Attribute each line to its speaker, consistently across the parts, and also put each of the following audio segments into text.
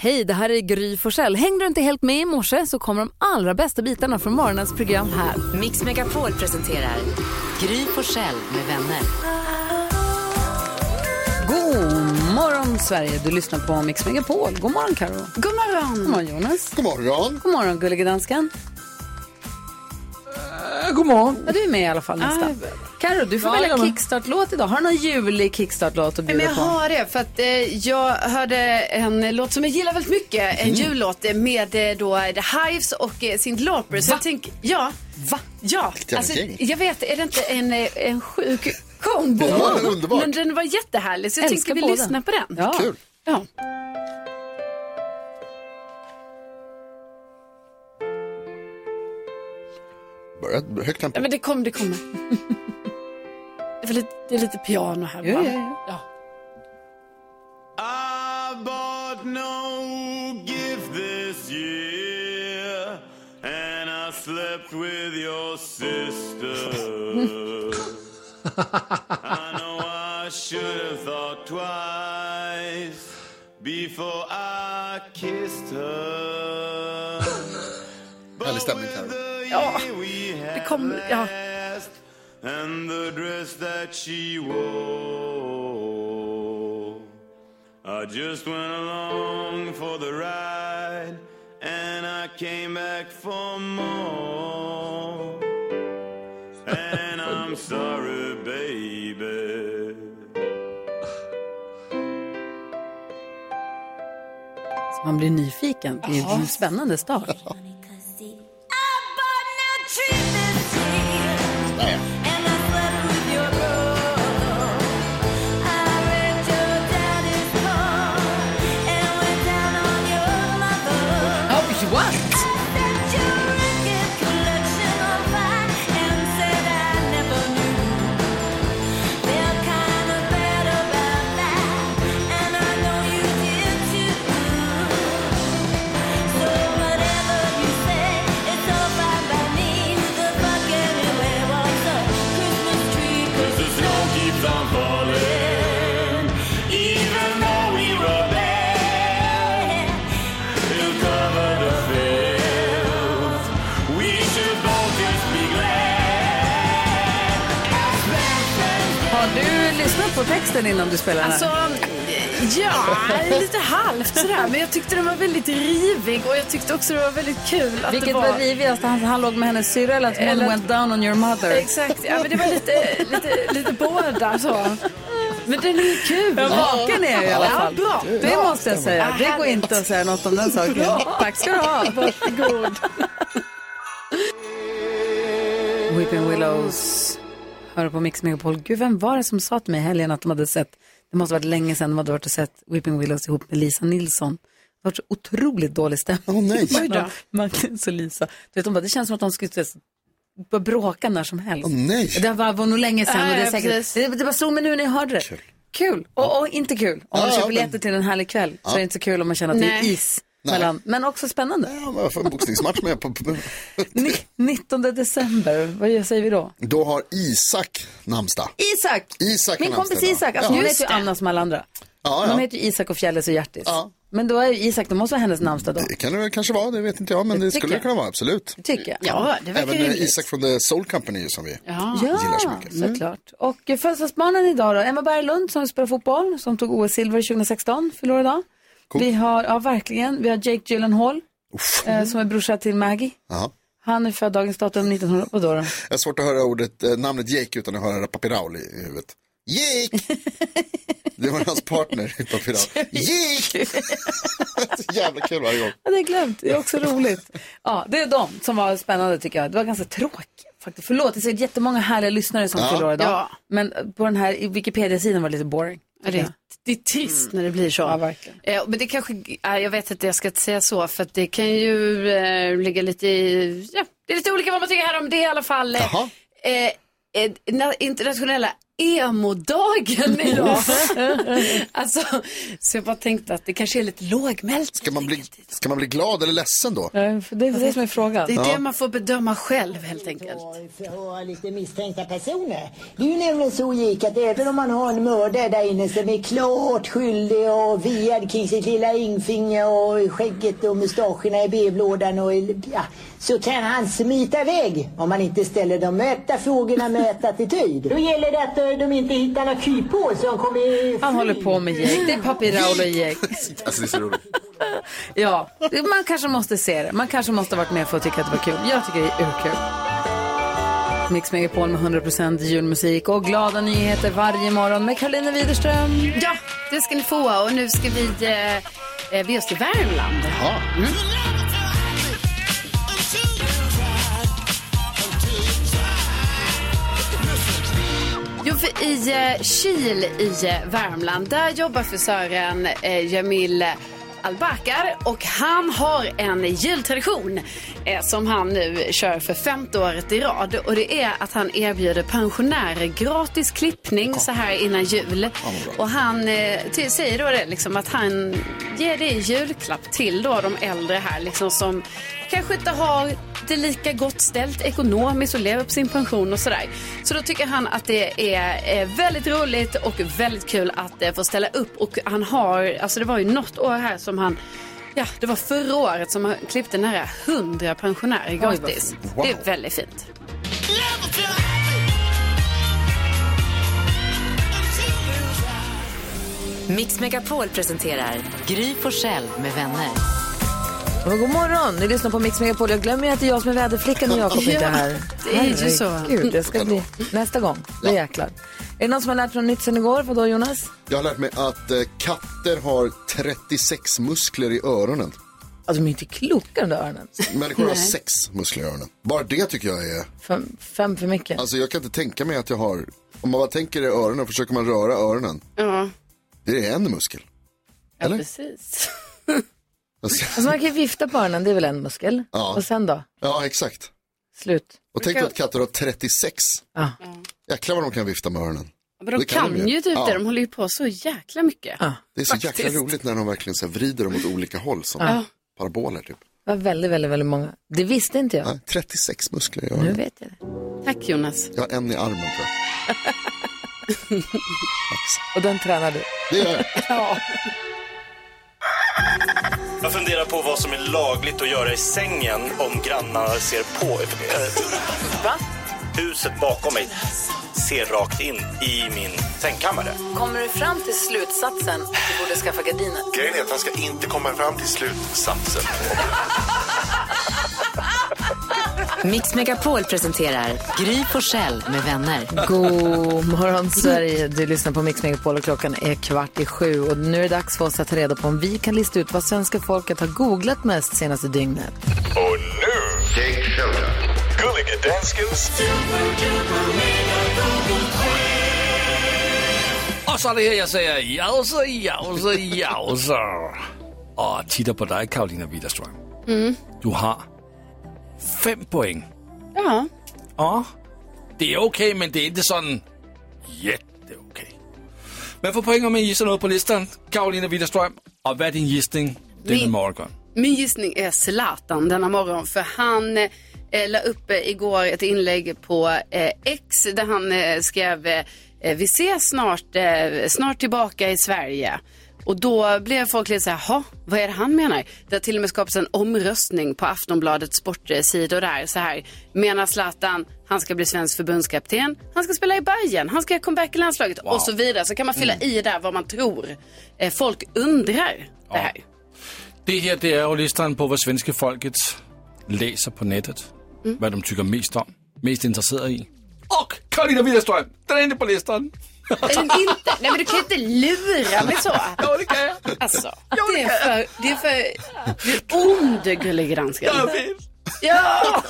Speaker 1: Hej, det här är Gry Forssell. Hängde du inte helt med i morse så kommer de allra bästa bitarna från morgonens program här.
Speaker 2: Mix Megapol presenterar Gry Forssell med vänner.
Speaker 1: God morgon Sverige, du lyssnar på Mix Megapol. God morgon Karo.
Speaker 3: God morgon.
Speaker 1: God morgon Jonas.
Speaker 4: God morgon.
Speaker 1: God morgon gullige dansken.
Speaker 5: Eh, God morgon. Ah,
Speaker 1: Ja, du är med i alla fall nästan. Karo, du får
Speaker 5: Ja,
Speaker 1: välja
Speaker 5: jag är med.
Speaker 1: kickstart-låt idag. Har du någon julig kickstart-låt att
Speaker 3: Nej, Men
Speaker 1: bjuda
Speaker 3: jag
Speaker 1: på?
Speaker 3: har det för att eh, jag hörde en låt som jag gillar väldigt mycket. En jullåt eh, med eh, då eh, The Hives och eh, Cyndi Lauper. Så jag tänker, ja. Va? Ja.
Speaker 4: Vilken
Speaker 3: Alltså,
Speaker 4: gäng.
Speaker 3: jag vet, är det inte en, eh, en sjuk kombo?
Speaker 4: Ja, den är underbar.
Speaker 3: Men den var jättehärlig så jag
Speaker 1: Älskar
Speaker 3: tänker vi
Speaker 1: båda.
Speaker 3: lyssnar på den.
Speaker 1: Ja.
Speaker 4: Kul.
Speaker 3: Ja.
Speaker 4: Börja högt tempo.
Speaker 3: Ja, men det kommer, det kommer. det, är väl lite, det är lite piano här
Speaker 1: Jo,
Speaker 3: bara.
Speaker 1: jo, jo.
Speaker 3: Ja.
Speaker 6: I bought no gift this year, and I slept with your sister. I know I should have thought twice before I kissed her.
Speaker 4: Härlig stämning, Karo.
Speaker 3: Ja,
Speaker 6: We had
Speaker 3: det kommer, ja.
Speaker 6: past and the dress that she wore. I just went along for the ride and I came back for more. And I'm sorry, baby.
Speaker 1: Man blir nyfiken. Det är en spännande start. Oh, what?
Speaker 6: The snow keeps on falling, even though we were bad. It'll cover the fields. We should both just be glad.
Speaker 1: Har du lyssnat på texten innan du spelar den?
Speaker 3: Alltså, ja, lite halvt sådär. Men jag tyckte den var väldigt rivig och jag tyckte också det var väldigt kul att det
Speaker 1: Vilket
Speaker 3: var...
Speaker 1: var rivigast? Han, han låg med hennes syrra eller att hon
Speaker 3: Eller-
Speaker 1: went down on your mother?
Speaker 3: Exakt, ja, men det var lite, lite, lite båda så. Men den är ju kul.
Speaker 1: Vaken är jag i alla fall.
Speaker 3: Ja, Ah, bra.
Speaker 1: Det måste jag säga. Det går inte att säga något om den saken. Tack ska du ha. Varsågod. Whipping Willows. Hör på Mix Megapol. Gud, vem var det som sa till mig i helgen att de hade sett, det måste ha varit länge sedan de hade varit och sett Whipping Willows ihop med Lisa Nilsson. Det var så otroligt dålig stämning.
Speaker 4: Åh nej.
Speaker 1: mellan Magnus och Lisa. Du vet, de bara, det känns som att de skulle börja bråka när som helst.
Speaker 4: Åh nej.
Speaker 1: Det var var nog länge sedan och det, är
Speaker 3: Ja, ja,
Speaker 1: säkert,
Speaker 3: precis.
Speaker 1: det, det bara slog mig nu när jag hörde det. Kul. Och, och inte kul. Om man
Speaker 4: Ja, ja,
Speaker 1: köper
Speaker 4: men-
Speaker 1: biljetter till en härlig kväll så är det inte så kul om man känner att det är
Speaker 3: Nej.
Speaker 1: is. Mellan, men också spännande.
Speaker 4: Ja, men för en boxningsmatch med på.
Speaker 1: Ni, 19 december, vad gör- säger vi då?
Speaker 4: Då har Isak namnsdag.
Speaker 1: Isak!
Speaker 4: Isak
Speaker 1: Min
Speaker 4: har
Speaker 1: kompis
Speaker 4: namnsdag idag.
Speaker 1: Isak, alltså, hon
Speaker 4: Ja.
Speaker 1: heter ju Anna som alla andra.
Speaker 4: Ja, ja.
Speaker 1: De heter ju Isak och Fjällis och Hjertis.
Speaker 4: Ja. Eh,
Speaker 1: Men då är ju Isak, det måste vara hennes namnsdag då.
Speaker 4: Det kan det väl kanske vara, det vet inte jag, men det, skulle det kunna vara, absolut.
Speaker 1: Tycker jag.
Speaker 3: Ja, det verkar
Speaker 4: Även
Speaker 3: ju
Speaker 4: eh,
Speaker 3: rimligt.
Speaker 4: Isak från The Soul Company som vi gillar så
Speaker 1: Ja, mm.
Speaker 4: mycket.
Speaker 1: såklart. Och födelsedagsbarnen idag då? Emma Berglund som spelar fotboll, som tog OS-silver 2016, förlorar idag.
Speaker 4: Coolt.
Speaker 1: Vi har, ja verkligen, vi har Jake Gyllenhaal,
Speaker 4: Mm.
Speaker 1: eh, som är brorsa till Maggie.
Speaker 4: Ja.
Speaker 1: Han är född dagens datum 1900, vadå då?
Speaker 4: Jag har svårt att höra ordet, eh, namnet Jake utan att höra Papirauli i huvudet. Jake! Det var hans partner i Papirauli. Jake! Så jävla kul varje gång.
Speaker 1: Ja, det är glömt, det är också roligt. Ja, det är de som var spännande tycker jag. Det var ganska tråkigt faktiskt. Förlåt, det är så jättemånga härliga lyssnare som
Speaker 4: Ja.
Speaker 1: förlorar idag.
Speaker 3: Ja.
Speaker 1: Men på den här i Wikipedia-sidan var det lite boring.
Speaker 3: Ja, Det, det är trist när det blir så.
Speaker 1: Ja, verkligen.
Speaker 3: Eh, Men det kanske, eh, jag vet inte, jag ska inte säga så, för att det kan ju eh, ligga lite i, ja, det är lite olika vad man tycker här om det i alla fall. eh,
Speaker 4: Jaha.
Speaker 3: Eh, eh, na- internationella emo-dagen idag. alltså, så jag bara tänkte att det kanske är lite lågmält.
Speaker 4: Ska man, bli, ska man bli glad eller ledsen då?
Speaker 1: Ja, för Det är det som är frågan.
Speaker 3: Det är det man får bedöma själv helt enkelt.
Speaker 5: Och, och lite misstänkta personer. Det är ju nämligen så gick att även om man har en mördare där inne som är klart skyldig och viad kring sitt lilla ringfinger och skägget och mustascherna i brevlådan och i- ja, så kan han smita iväg om man inte ställer de rätta frågorna med rätt attityd. Då gäller det att eh, de inte hittar några kryphål så de kommer
Speaker 1: Han håller på med gägg. Det är Papi Raul och gägg.
Speaker 4: Alltså det är så roligt.
Speaker 1: Ja, man kanske måste se det. Man kanske måste ha varit med för att tycka att det var kul. Jag tycker det är urkul. Mix Megapol med 100% julmusik och glada nyheter varje morgon med Karolina Widerström.
Speaker 3: Ja, det ska ni få och nu ska vi eh, eh, vi är just i Värmland. Mm.
Speaker 4: Ja.
Speaker 3: Jo, för i eh, Kil i eh, Värmland, där jobbar frisören eh, Jamil Albakar och han har en jultradition eh, som han nu kör för femte året i rad och det är att han erbjuder pensionärer gratis klippning så här innan jul. Och han eh, ty- säger då det liksom att han ger det i julklapp till då de äldre här liksom som kanske inte har det lika gott ställt ekonomiskt och lever på sin pension och sådär. Så då tycker han att det är eh, väldigt roligt och väldigt kul att eh, få ställa upp och han har, alltså det var ju något år här som han Ja, det var förra året som han klippte nära 100 pensionärer gratis.
Speaker 4: fint. Wow.
Speaker 3: Det är väldigt fint.
Speaker 2: Mix Megapol presenterar Gry Forssell med vänner.
Speaker 1: Och god morgon, ni lyssnar på Mix Megapol. Jag glömmer ju att det är jag som är väderflickan när Jakob inte är här.
Speaker 3: det är ju så.
Speaker 1: Gud, det ska bli nästa gång. Då jäklar. Är det någon som har lärt sig något nytt sen igår? Vadå Jonas?
Speaker 4: Jag har lärt mig att eh, katter har 36 muskler i öronen.
Speaker 1: Alltså de är inte kloka de där öronen.
Speaker 4: Människor har sex muskler i öronen. Bara det tycker jag är...
Speaker 1: Fem, fem för mycket.
Speaker 4: Alltså jag kan inte tänka mig att jag har... Om man bara tänker i öronen försöker man röra öronen.
Speaker 3: Ja,
Speaker 4: Det är en muskel.
Speaker 3: ja
Speaker 4: Eller?
Speaker 3: precis.
Speaker 4: Alltså,
Speaker 1: Alltså man kan ju vifta på öronen, det är väl en muskel.
Speaker 4: Ja.
Speaker 1: Och sen då?
Speaker 4: ja, exakt.
Speaker 1: Slut.
Speaker 4: Och tänk dig att katter har 36.
Speaker 1: Ja.
Speaker 4: Jäklar vad de kan vifta med öronen.
Speaker 3: Men de
Speaker 4: Det kan
Speaker 3: kan,
Speaker 4: de ju.
Speaker 3: ju typ
Speaker 4: Ja.
Speaker 3: det, de håller ju på så jäkla mycket.
Speaker 1: Ja.
Speaker 4: Det är så jäkla roligt när de verkligen så här, vrider dem åt olika håll som paraboler typ.
Speaker 1: Det var väldigt, väldigt, väldigt många. Det visste inte jag.
Speaker 4: Ja, 36 muskler i
Speaker 1: Nu
Speaker 4: öronen.
Speaker 1: vet jag det.
Speaker 3: Tack Jonas.
Speaker 4: Jag har en i armen tror jag.
Speaker 1: Och den tränar du.
Speaker 4: Det gör jag.
Speaker 7: Jag funderar på vad som är lagligt att göra i sängen om grannarna ser på. eh, Huset bakom mig ser rakt in i min sängkammare.
Speaker 1: Kommer du fram till slutsatsen att du borde skaffa gardiner?
Speaker 8: Grejen är att han ska inte komma fram till slutsatsen.
Speaker 2: Mix Megapol presenterar Gry Forssell med vänner.
Speaker 1: God morgon Sverige, du lyssnar på Mix Megapol och klockan är kvart i sju och nu är det dags för oss att ta reda på om vi kan lista ut vad svenska folket har googlat mest senaste dygnet.
Speaker 8: Och nu, Jake Shelton. Gulliga danskens...
Speaker 9: Och så er det her, jeg säger jause, jause, jause. Og titter på dig, Karolina Widerstrøm. Du har fem point.
Speaker 3: Ja,
Speaker 9: Og det er okay, men det er ikke sådan jätte okay. Hvad for point om I så noget på listen, Karolina Widerstrøm? Og hvad er din gissning denne
Speaker 3: Min-
Speaker 9: morgen?
Speaker 3: Min gissning är Zlatan denna morgon för han eh, la upp eh, igår ett inlägg på eh, X där han eh, skrev eh, vi ses snart, eh, snart tillbaka i Sverige. Och då blev folk lite så här, "Ha, vad är det han menar? Det har till och med skapats en omröstning på Aftonbladets sportsidor där. Så här, menar Zlatan, han ska bli svensk förbundskapten, han ska spela i Bayern, han ska göra comeback i landslaget och så vidare. Så kan man fylla i där vad man tror. Eh, folk undrar det här.
Speaker 9: Det her, det er jo listeren på, hvad svenske folket læser på nettet. Hvad de tykker mest om, mest interesseret i. Og Karolina Widerstrøm, den er inde på listeren.
Speaker 3: Eller inte. Nej men du kan ju inte lura mig så.
Speaker 9: Jo, det kan jeg.
Speaker 3: Alltså, det är för, det är för, du är ond gullig dansken.
Speaker 9: Jeg ved.
Speaker 3: Ja!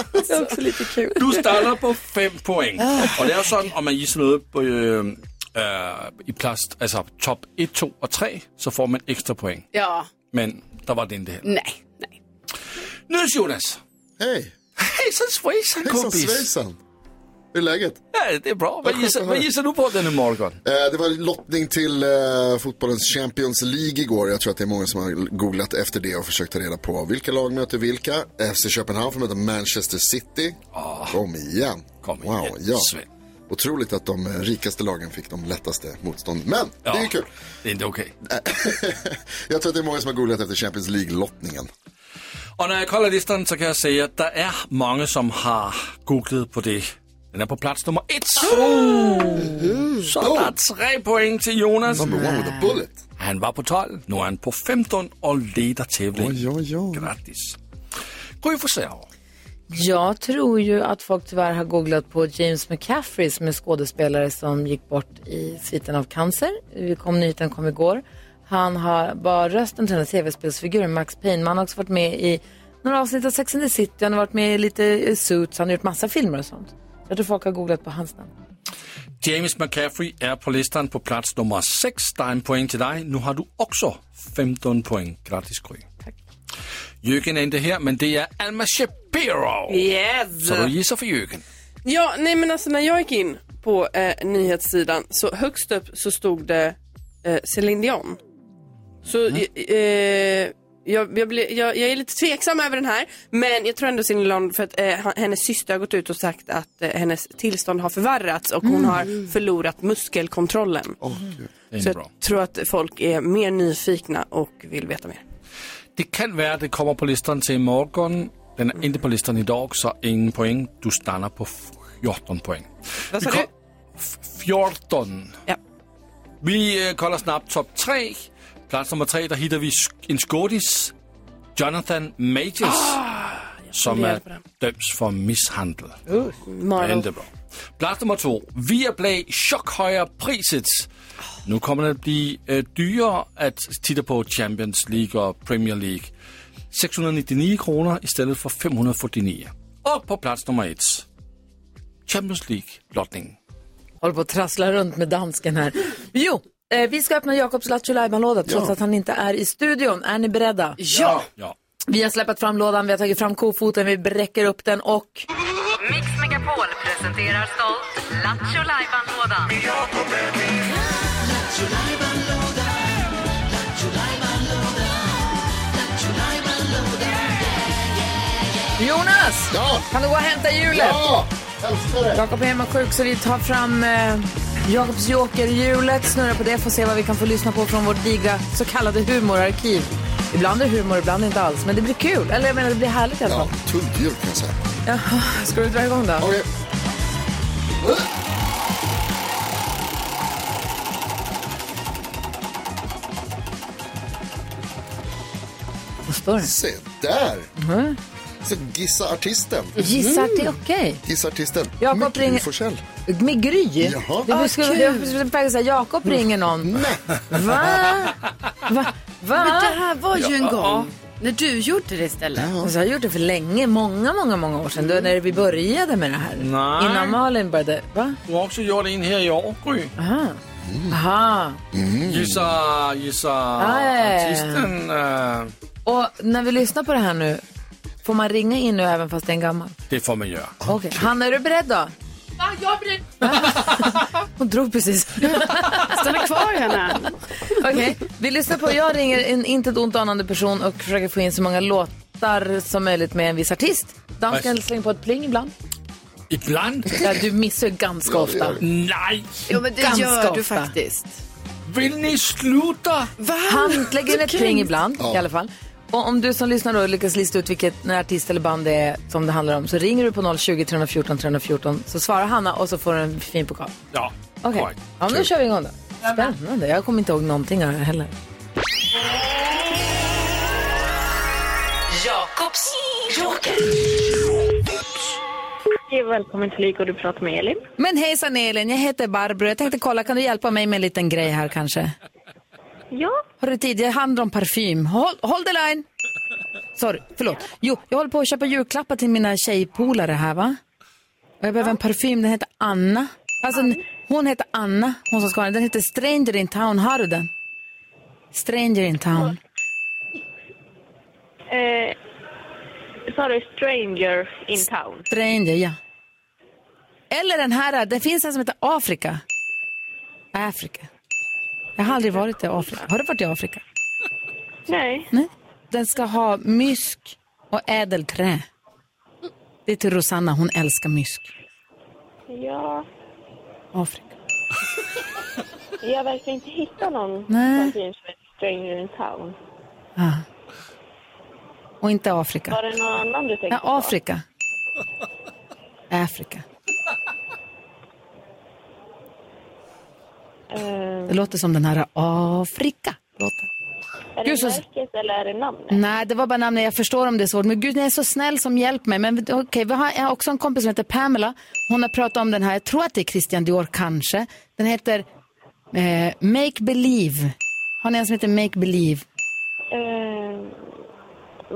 Speaker 9: Du starter på 5 point. Og det er jo sådan, om man giver noget på, øh, øh, i plast, altså top 1, 2 og 3, så får man ekstra point.
Speaker 3: Ja,
Speaker 9: Men der var det ikke det her.
Speaker 3: nej, nej.
Speaker 9: Nydes Jonas.
Speaker 4: Hej,
Speaker 9: Hejsan svejsan,
Speaker 4: hejsan
Speaker 9: kompis.
Speaker 4: svejsan. Hur är läget?
Speaker 9: Ja, det är bra.
Speaker 4: Vad
Speaker 9: Vad
Speaker 4: skönt
Speaker 9: gissar,
Speaker 4: att
Speaker 9: vad
Speaker 4: höra.
Speaker 9: gissar du på denna morgon?
Speaker 4: Eh, Det var lottning till eh, fotbollens Champions League igår. Jag tror att det är många som har googlat efter det och försökt ta reda på vilka lag möter vilka. FC Köpenhamn får möta Manchester City. Kom igen.
Speaker 9: Ah. Kom igen,
Speaker 4: wow, ja.
Speaker 9: Sven.
Speaker 4: Otroligt att de eh, rikaste lagen fick de lättaste motstånden. Men det är ju kul.
Speaker 9: Det är inte okej.
Speaker 4: Jag tror att det är många som har googlat efter Champions League-lottningen.
Speaker 9: Och när jag kollar listan så kan jag säga att det är många som har googlat på det. Den är på plats nummer ett. Så det är tre poäng till Jonas.
Speaker 4: Number one with a bullet.
Speaker 9: Han var på 12, nu är han på 15 och leder tävlingen.
Speaker 4: Oj, oj, oj.
Speaker 9: Grattis. Gry Forssell.
Speaker 1: Jag tror ju att folk tyvärr har googlat på James McCaffrey som är skådespelare som gick bort i sviten av cancer. Vi kom, nyheten kom igår. Han har bara rösten till den här tv-spelsfiguren Max Payne. Man har också varit med i några avsnitt av Sex and the City. Han har varit med i lite eh, Suits. Han har gjort massa filmer och sånt. Jag tror folk har googlat på hans namn.
Speaker 9: James McCaffrey är på listan på plats nummer 6. Det är en poäng till dig. Nu har du också 15 poäng. Grattis Gry. Tack. Jürgen är inte här, men det är Alma Shapiro.
Speaker 10: Yes!
Speaker 9: Så du gissar för Jürgen.
Speaker 10: Ja, nej men alltså när jag gick in på eh, nyhetssidan så högst upp så stod det eh, Céline Dion. Så
Speaker 9: Mm.
Speaker 10: eh, eh, jag, jag, blir- jag, jag är lite tveksam över den här men jag tror ändå Céline Dion för att eh, han- hennes syster har gått ut och sagt att eh, hennes tillstånd har förvärrats och
Speaker 1: Mm.
Speaker 10: hon har förlorat muskelkontrollen.
Speaker 9: Det är
Speaker 10: Så
Speaker 9: inte bra.
Speaker 10: jag tror att folk är mer nyfikna och vill veta mer.
Speaker 9: Det kan vara att det kommer på listan till imorgon. Den är inte på listan idag, så ingen poäng. Du stannar på 14 poäng.
Speaker 10: Vad sa
Speaker 9: Vi
Speaker 10: du?
Speaker 9: ko- f- 14.
Speaker 10: Ja.
Speaker 9: Vi eh, kollar snabbt topp 3. Plats nummer 3, där hittar vi sk- en skådis. Jonathan Majors. som
Speaker 10: funderar
Speaker 9: är
Speaker 10: på den.
Speaker 9: döms för misshandel. Det är
Speaker 10: Marvel.
Speaker 9: inte bra. Plats nummer två. Viaplay chockhöjer priset. Nu kommer det att bli eh, dyrare att titta på Champions League och Premier League. 699 kronor istället för 549. Och på plats nummer ett. Champions League-lottningen.
Speaker 1: Håller på att trassla runt med dansken här. Jo, eh, vi ska öppna Jakobs Lattjo Lajban-låda trots
Speaker 4: Ja.
Speaker 1: att han inte är i studion. Är ni beredda?
Speaker 10: Ja!
Speaker 9: Ja.
Speaker 1: Vi har släppt fram lådan, vi har tagit fram kofoten, vi bräcker upp den och...
Speaker 2: Mix Megapol presenterar stolt Lattjo Lajban-lådan.
Speaker 1: Jonas!
Speaker 4: Ja!
Speaker 1: Kan du gå och hämta hjulet?
Speaker 4: Ja! Älskar det!
Speaker 1: Jakob är hemma sjuk så vi tar fram eh, Jakobs jokerhjulet, snurrar på det, får se vad vi kan få lyssna på från vårt digra så kallade humorarkiv. Ibland är det humor, ibland inte alls, men det blir kul. Eller jag menar, det blir härligt i alla
Speaker 4: Ja,
Speaker 1: fall.
Speaker 4: tunt djur kan jag säga.
Speaker 1: Ska du dra igång då?
Speaker 4: Okej.
Speaker 1: Vad står det?
Speaker 4: Se där! Så gissa artisten.
Speaker 1: Gissar att det är okej.
Speaker 4: Gissa artisten.
Speaker 1: Jakob
Speaker 4: Med Gry
Speaker 1: ringer-
Speaker 4: Forssell.
Speaker 10: Mm.
Speaker 1: Med Gry?
Speaker 4: Jaha.
Speaker 1: Det var skulle jag skulle på väg att säga Jakob ringer någon. Va? Va? Va?
Speaker 3: Det här var ju en gång när du gjorde det istället.
Speaker 1: Alltså, jag har gjort det för länge, många, många, många år sedan. Då när vi började med det här.
Speaker 9: Nej.
Speaker 1: Innan Malin började. Va?
Speaker 9: Du har också gjort en här i år, Gry.
Speaker 1: Aha.
Speaker 9: Gissa, gissa
Speaker 1: ja, ja.
Speaker 9: artisten. eh,
Speaker 1: Och när vi lyssnar på det här nu, får man ringa in nu även fast det är en gammal?
Speaker 9: det får man göra.
Speaker 1: Okej. Hanna, är du beredd då? Ja, jag är beredd. Hon drog precis.
Speaker 3: Stanna kvar henne.
Speaker 1: Okej, vi lyssnar på. Jag ringer en inte ett ont anande person och försöker få in så många låtar som möjligt med en viss artist. Dansken
Speaker 9: Nice.
Speaker 1: slänger på ett pling ibland.
Speaker 9: Ibland?
Speaker 1: Ja, du missar ju ganska
Speaker 4: Ja, det
Speaker 1: ofta.
Speaker 4: gör det.
Speaker 9: Nej!
Speaker 3: Jo, men det
Speaker 1: Ganska
Speaker 3: gör
Speaker 1: ofta.
Speaker 3: du faktiskt.
Speaker 9: Vill ni sluta?
Speaker 1: Han lägger in ett pling ibland
Speaker 4: Ja.
Speaker 1: i alla fall. Och om du som lyssnar då lyckas lista ut vilket när artist eller band det är som det handlar om så ringer du på 020 314 314 så svarar Hanna och så får du en fin pokal.
Speaker 9: Ja,
Speaker 1: Okej,
Speaker 9: korrekt.
Speaker 1: ja, nu kör vi igång då. Spännande, jag kommer inte ihåg någonting av det här heller.
Speaker 2: Jakobs joker.
Speaker 11: Hej och välkommen till Lyko, du pratar med Elin.
Speaker 1: Men hejsan Elin, jag heter Barbro. Jag tänkte kolla, kan du hjälpa mig med en liten grej här kanske?
Speaker 11: Ja,
Speaker 1: Har du tid? Jag handlar om parfym. Håll, håll the line! Sorry, förlåt. Jo, jag håller på att köpa julklappar till mina tjejpolare här va? Och jag behöver en parfym, den heter Anna. Alltså, n- hon heter Anna, hon som ska ha den. Den heter Stranger in Town, har du den? Stranger in Town.
Speaker 11: eh, sa du Stranger in Town?
Speaker 1: Stranger, ja. Eller den här, det finns en som heter Afrika. Afrika. Jag har aldrig varit i Afrika. Har du varit i Afrika?
Speaker 11: Nej.
Speaker 1: Nej. Den ska ha mysk och ädelträ. Det är till Rosanna, hon älskar mysk.
Speaker 11: Ja,
Speaker 1: Afrika.
Speaker 11: jag verkar inte hitta någon
Speaker 1: Nej.
Speaker 11: som finns med Stranger in Town.
Speaker 1: Ja. Och inte Afrika.
Speaker 11: Var det någon annan du tänkte
Speaker 1: Ja,
Speaker 11: på?
Speaker 1: Afrika. Afrika.
Speaker 11: Eh,
Speaker 1: Det låter som den här Afrika. Låten.
Speaker 11: är
Speaker 1: Gud,
Speaker 11: det
Speaker 1: så-
Speaker 11: märket eller är det namnet?
Speaker 1: Nej, det var bara namnet. Jag förstår om det är svårt. Men gud, ni är så snäll som hjälper mig. Men okej, vi har jag har också en kompis som heter Pamela. Hon har pratat om den här. Jag tror att det är Christian Dior, kanske. Den heter eh, Make Believe. Har ni en som heter Make Believe?
Speaker 11: Eh,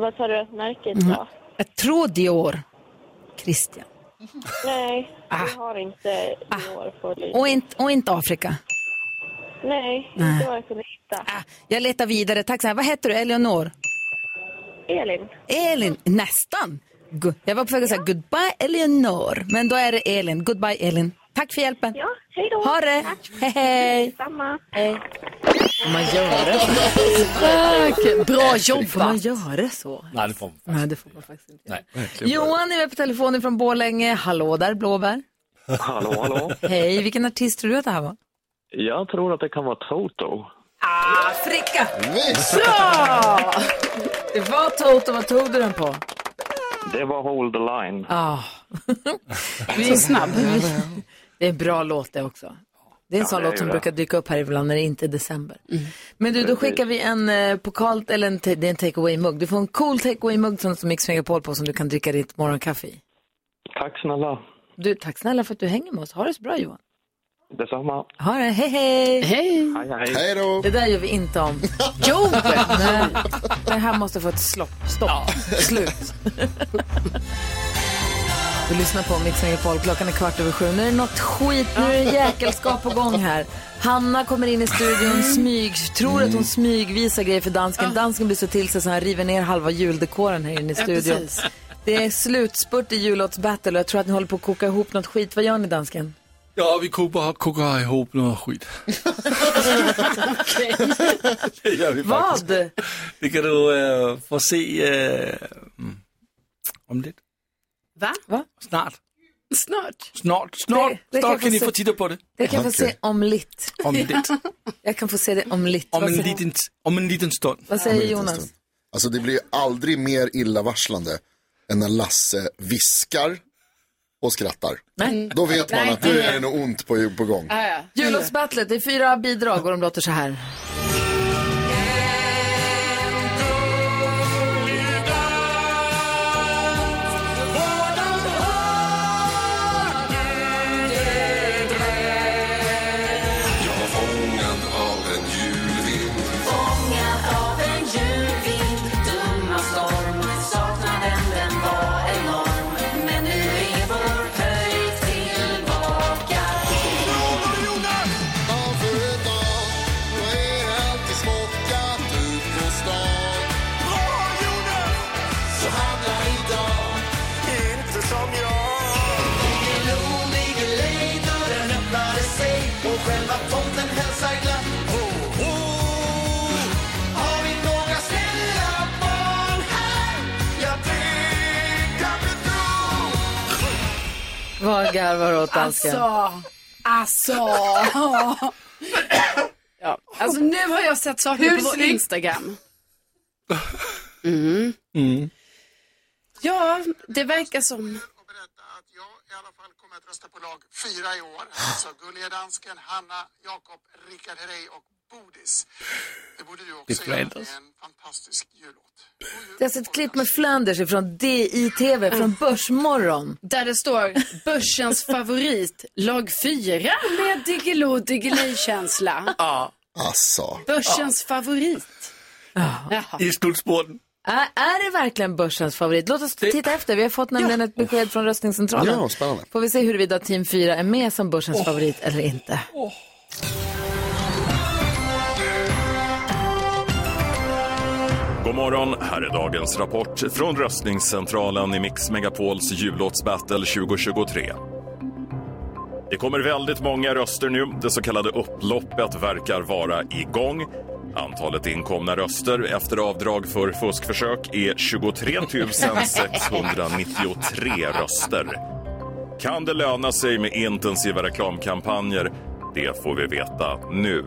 Speaker 11: vad sa du att märket
Speaker 1: Mhm.
Speaker 11: var?
Speaker 1: Jag tror Dior. Christian. Ah.
Speaker 11: Nej, vi har inte Dior på listan.
Speaker 1: Och, inte och inte Afrika.
Speaker 11: Nej,
Speaker 1: Nej. Ah,
Speaker 11: inte vad jag kunde hitta.
Speaker 1: Jag letar vidare. Tack så här. Vad heter du? Eleonor?
Speaker 11: Elin.
Speaker 1: Elin, nästan. Gu- Jag var på väg att säga goodbye Eleonor, men då är det Elin. Goodbye Elin. Tack för hjälpen. Ja,
Speaker 11: hej då.
Speaker 1: Ha det. Hej, hej.
Speaker 11: Samma.
Speaker 1: Hej.
Speaker 2: Man gör det
Speaker 1: Tack.
Speaker 2: Bra jobbat.
Speaker 1: Får man göra så?
Speaker 9: Nej, det får man
Speaker 1: Nej, det får man faktiskt inte.
Speaker 9: Nej.
Speaker 1: Johan är med på telefonen från Borlänge. Hallå där, Blåbär.
Speaker 12: Hallå, hallå.
Speaker 1: Hej, vilken artist tror du att det här var?
Speaker 12: Jag tror att det kan vara Toto.
Speaker 1: Afrika! Ah, Bra! Det var Toto. Vad tog du den på?
Speaker 12: Det var Hold the Line.
Speaker 1: Ja. Vi
Speaker 12: Så snabb.
Speaker 1: Det är en bra låt det också. Det är en
Speaker 12: Ja,
Speaker 1: sån
Speaker 12: det är
Speaker 1: låt som
Speaker 12: det.
Speaker 1: brukar dyka upp här ibland när det inte är december. Men du, då
Speaker 12: Precis.
Speaker 1: skickar vi en eh, pokal, eller en, ta- det är en takeaway-mugg. Du får en cool takeaway-mugg som det står Mix Megapol på som du kan dricka ditt morgonkaffe i.
Speaker 12: Tack snälla.
Speaker 1: Du, tack snälla för att du hänger med oss. Ha det så bra Johan.
Speaker 12: Detsamma.
Speaker 1: Ha det, hej hej! Hej!
Speaker 12: Hej, hej.
Speaker 1: Det där gör vi inte om. Jo! Nej. Det här måste få ett slopp, stopp, slut. Du lyssnar på Mix Megapol, klockan är kvart över sju. Nu är det något skit, nu är det jäkelskap på gång här. Hanna kommer in i studion, smyg, tror att hon smygvisar grejer för dansken. Dansken blir så till sig så han river ner halva juldekoren här inne i
Speaker 13: Ja,
Speaker 1: studion.
Speaker 13: precis.
Speaker 1: Det är slutspurt i jullåtsbattle och jag tror att ni håller på att koka ihop något skit. Vad gör ni dansken?
Speaker 9: Ja, vi kokar, kokar ihop något skit. det gör vi faktiskt.
Speaker 1: Vad?
Speaker 9: Det kan du eh, få se eh, mm, om lite.
Speaker 3: Va?
Speaker 1: Va?
Speaker 9: Snart.
Speaker 3: Snart.
Speaker 9: Snart, snart,
Speaker 1: Det- det kan jag
Speaker 9: snart
Speaker 1: få
Speaker 9: kan ni
Speaker 1: se.
Speaker 9: få titta på det.
Speaker 1: Det kan jag få se om lite.
Speaker 9: Om lite.
Speaker 1: Jag kan få se det
Speaker 4: Mm.
Speaker 1: om lite.
Speaker 9: Om
Speaker 1: Vad
Speaker 9: en
Speaker 1: säger-
Speaker 9: liten, om en liten stund.
Speaker 1: Vad
Speaker 4: Om
Speaker 1: säger
Speaker 4: en liten
Speaker 1: Jonas?
Speaker 4: stund. Alltså det blir ju aldrig mer illavarslande än när Lasse viskar och skrattar.
Speaker 1: Nej.
Speaker 4: Då vet man
Speaker 1: Nej,
Speaker 4: att nu
Speaker 1: det-
Speaker 4: är det något ont på, på gång.
Speaker 1: Jullåtsbattlet, det är fyra bidrag och de låter så här. Vad garvar du åt dansken?
Speaker 13: Alltså, alltså.
Speaker 3: ja. Alltså nu har jag sett saker
Speaker 13: Hur
Speaker 3: på vår
Speaker 13: snyggt?
Speaker 3: Instagram.
Speaker 13: Mm. Mm.
Speaker 3: Ja, det verkar som...
Speaker 14: fyra i år. Alltså Gulliga Dansken, Hanna, Jakob, Rickard Herrey och Bodis. Det borde du
Speaker 9: Det
Speaker 14: också göra. Det
Speaker 9: förändras.
Speaker 14: är en fantastisk jullåt.
Speaker 1: Jag har sett alltså klipp med Flanders från DI-TV, från Börsmorgon.
Speaker 3: Där det står börsens favorit, lag 4 med Diggiloo Diggiley-känsla.
Speaker 9: Ja.
Speaker 4: Alltså.
Speaker 3: Börsens favorit.
Speaker 9: I slutspurten.
Speaker 1: Är, är det verkligen börsens favorit? Låt oss titta efter. Vi har fått nämligen ett besked från röstningscentralen.
Speaker 4: Ja, spännande.
Speaker 1: Får vi se huruvida Team 4 är med som börsens favorit eller inte.
Speaker 15: God morgon, här är dagens rapport från röstningscentralen i Mix Megapols jullåtsbattle 2023. Det kommer väldigt många röster nu. Det så kallade upploppet verkar vara igång. Antalet inkomna röster efter avdrag för fuskförsök är 23 693 röster. Kan det löna sig med intensiva reklamkampanjer? Det får vi veta nu.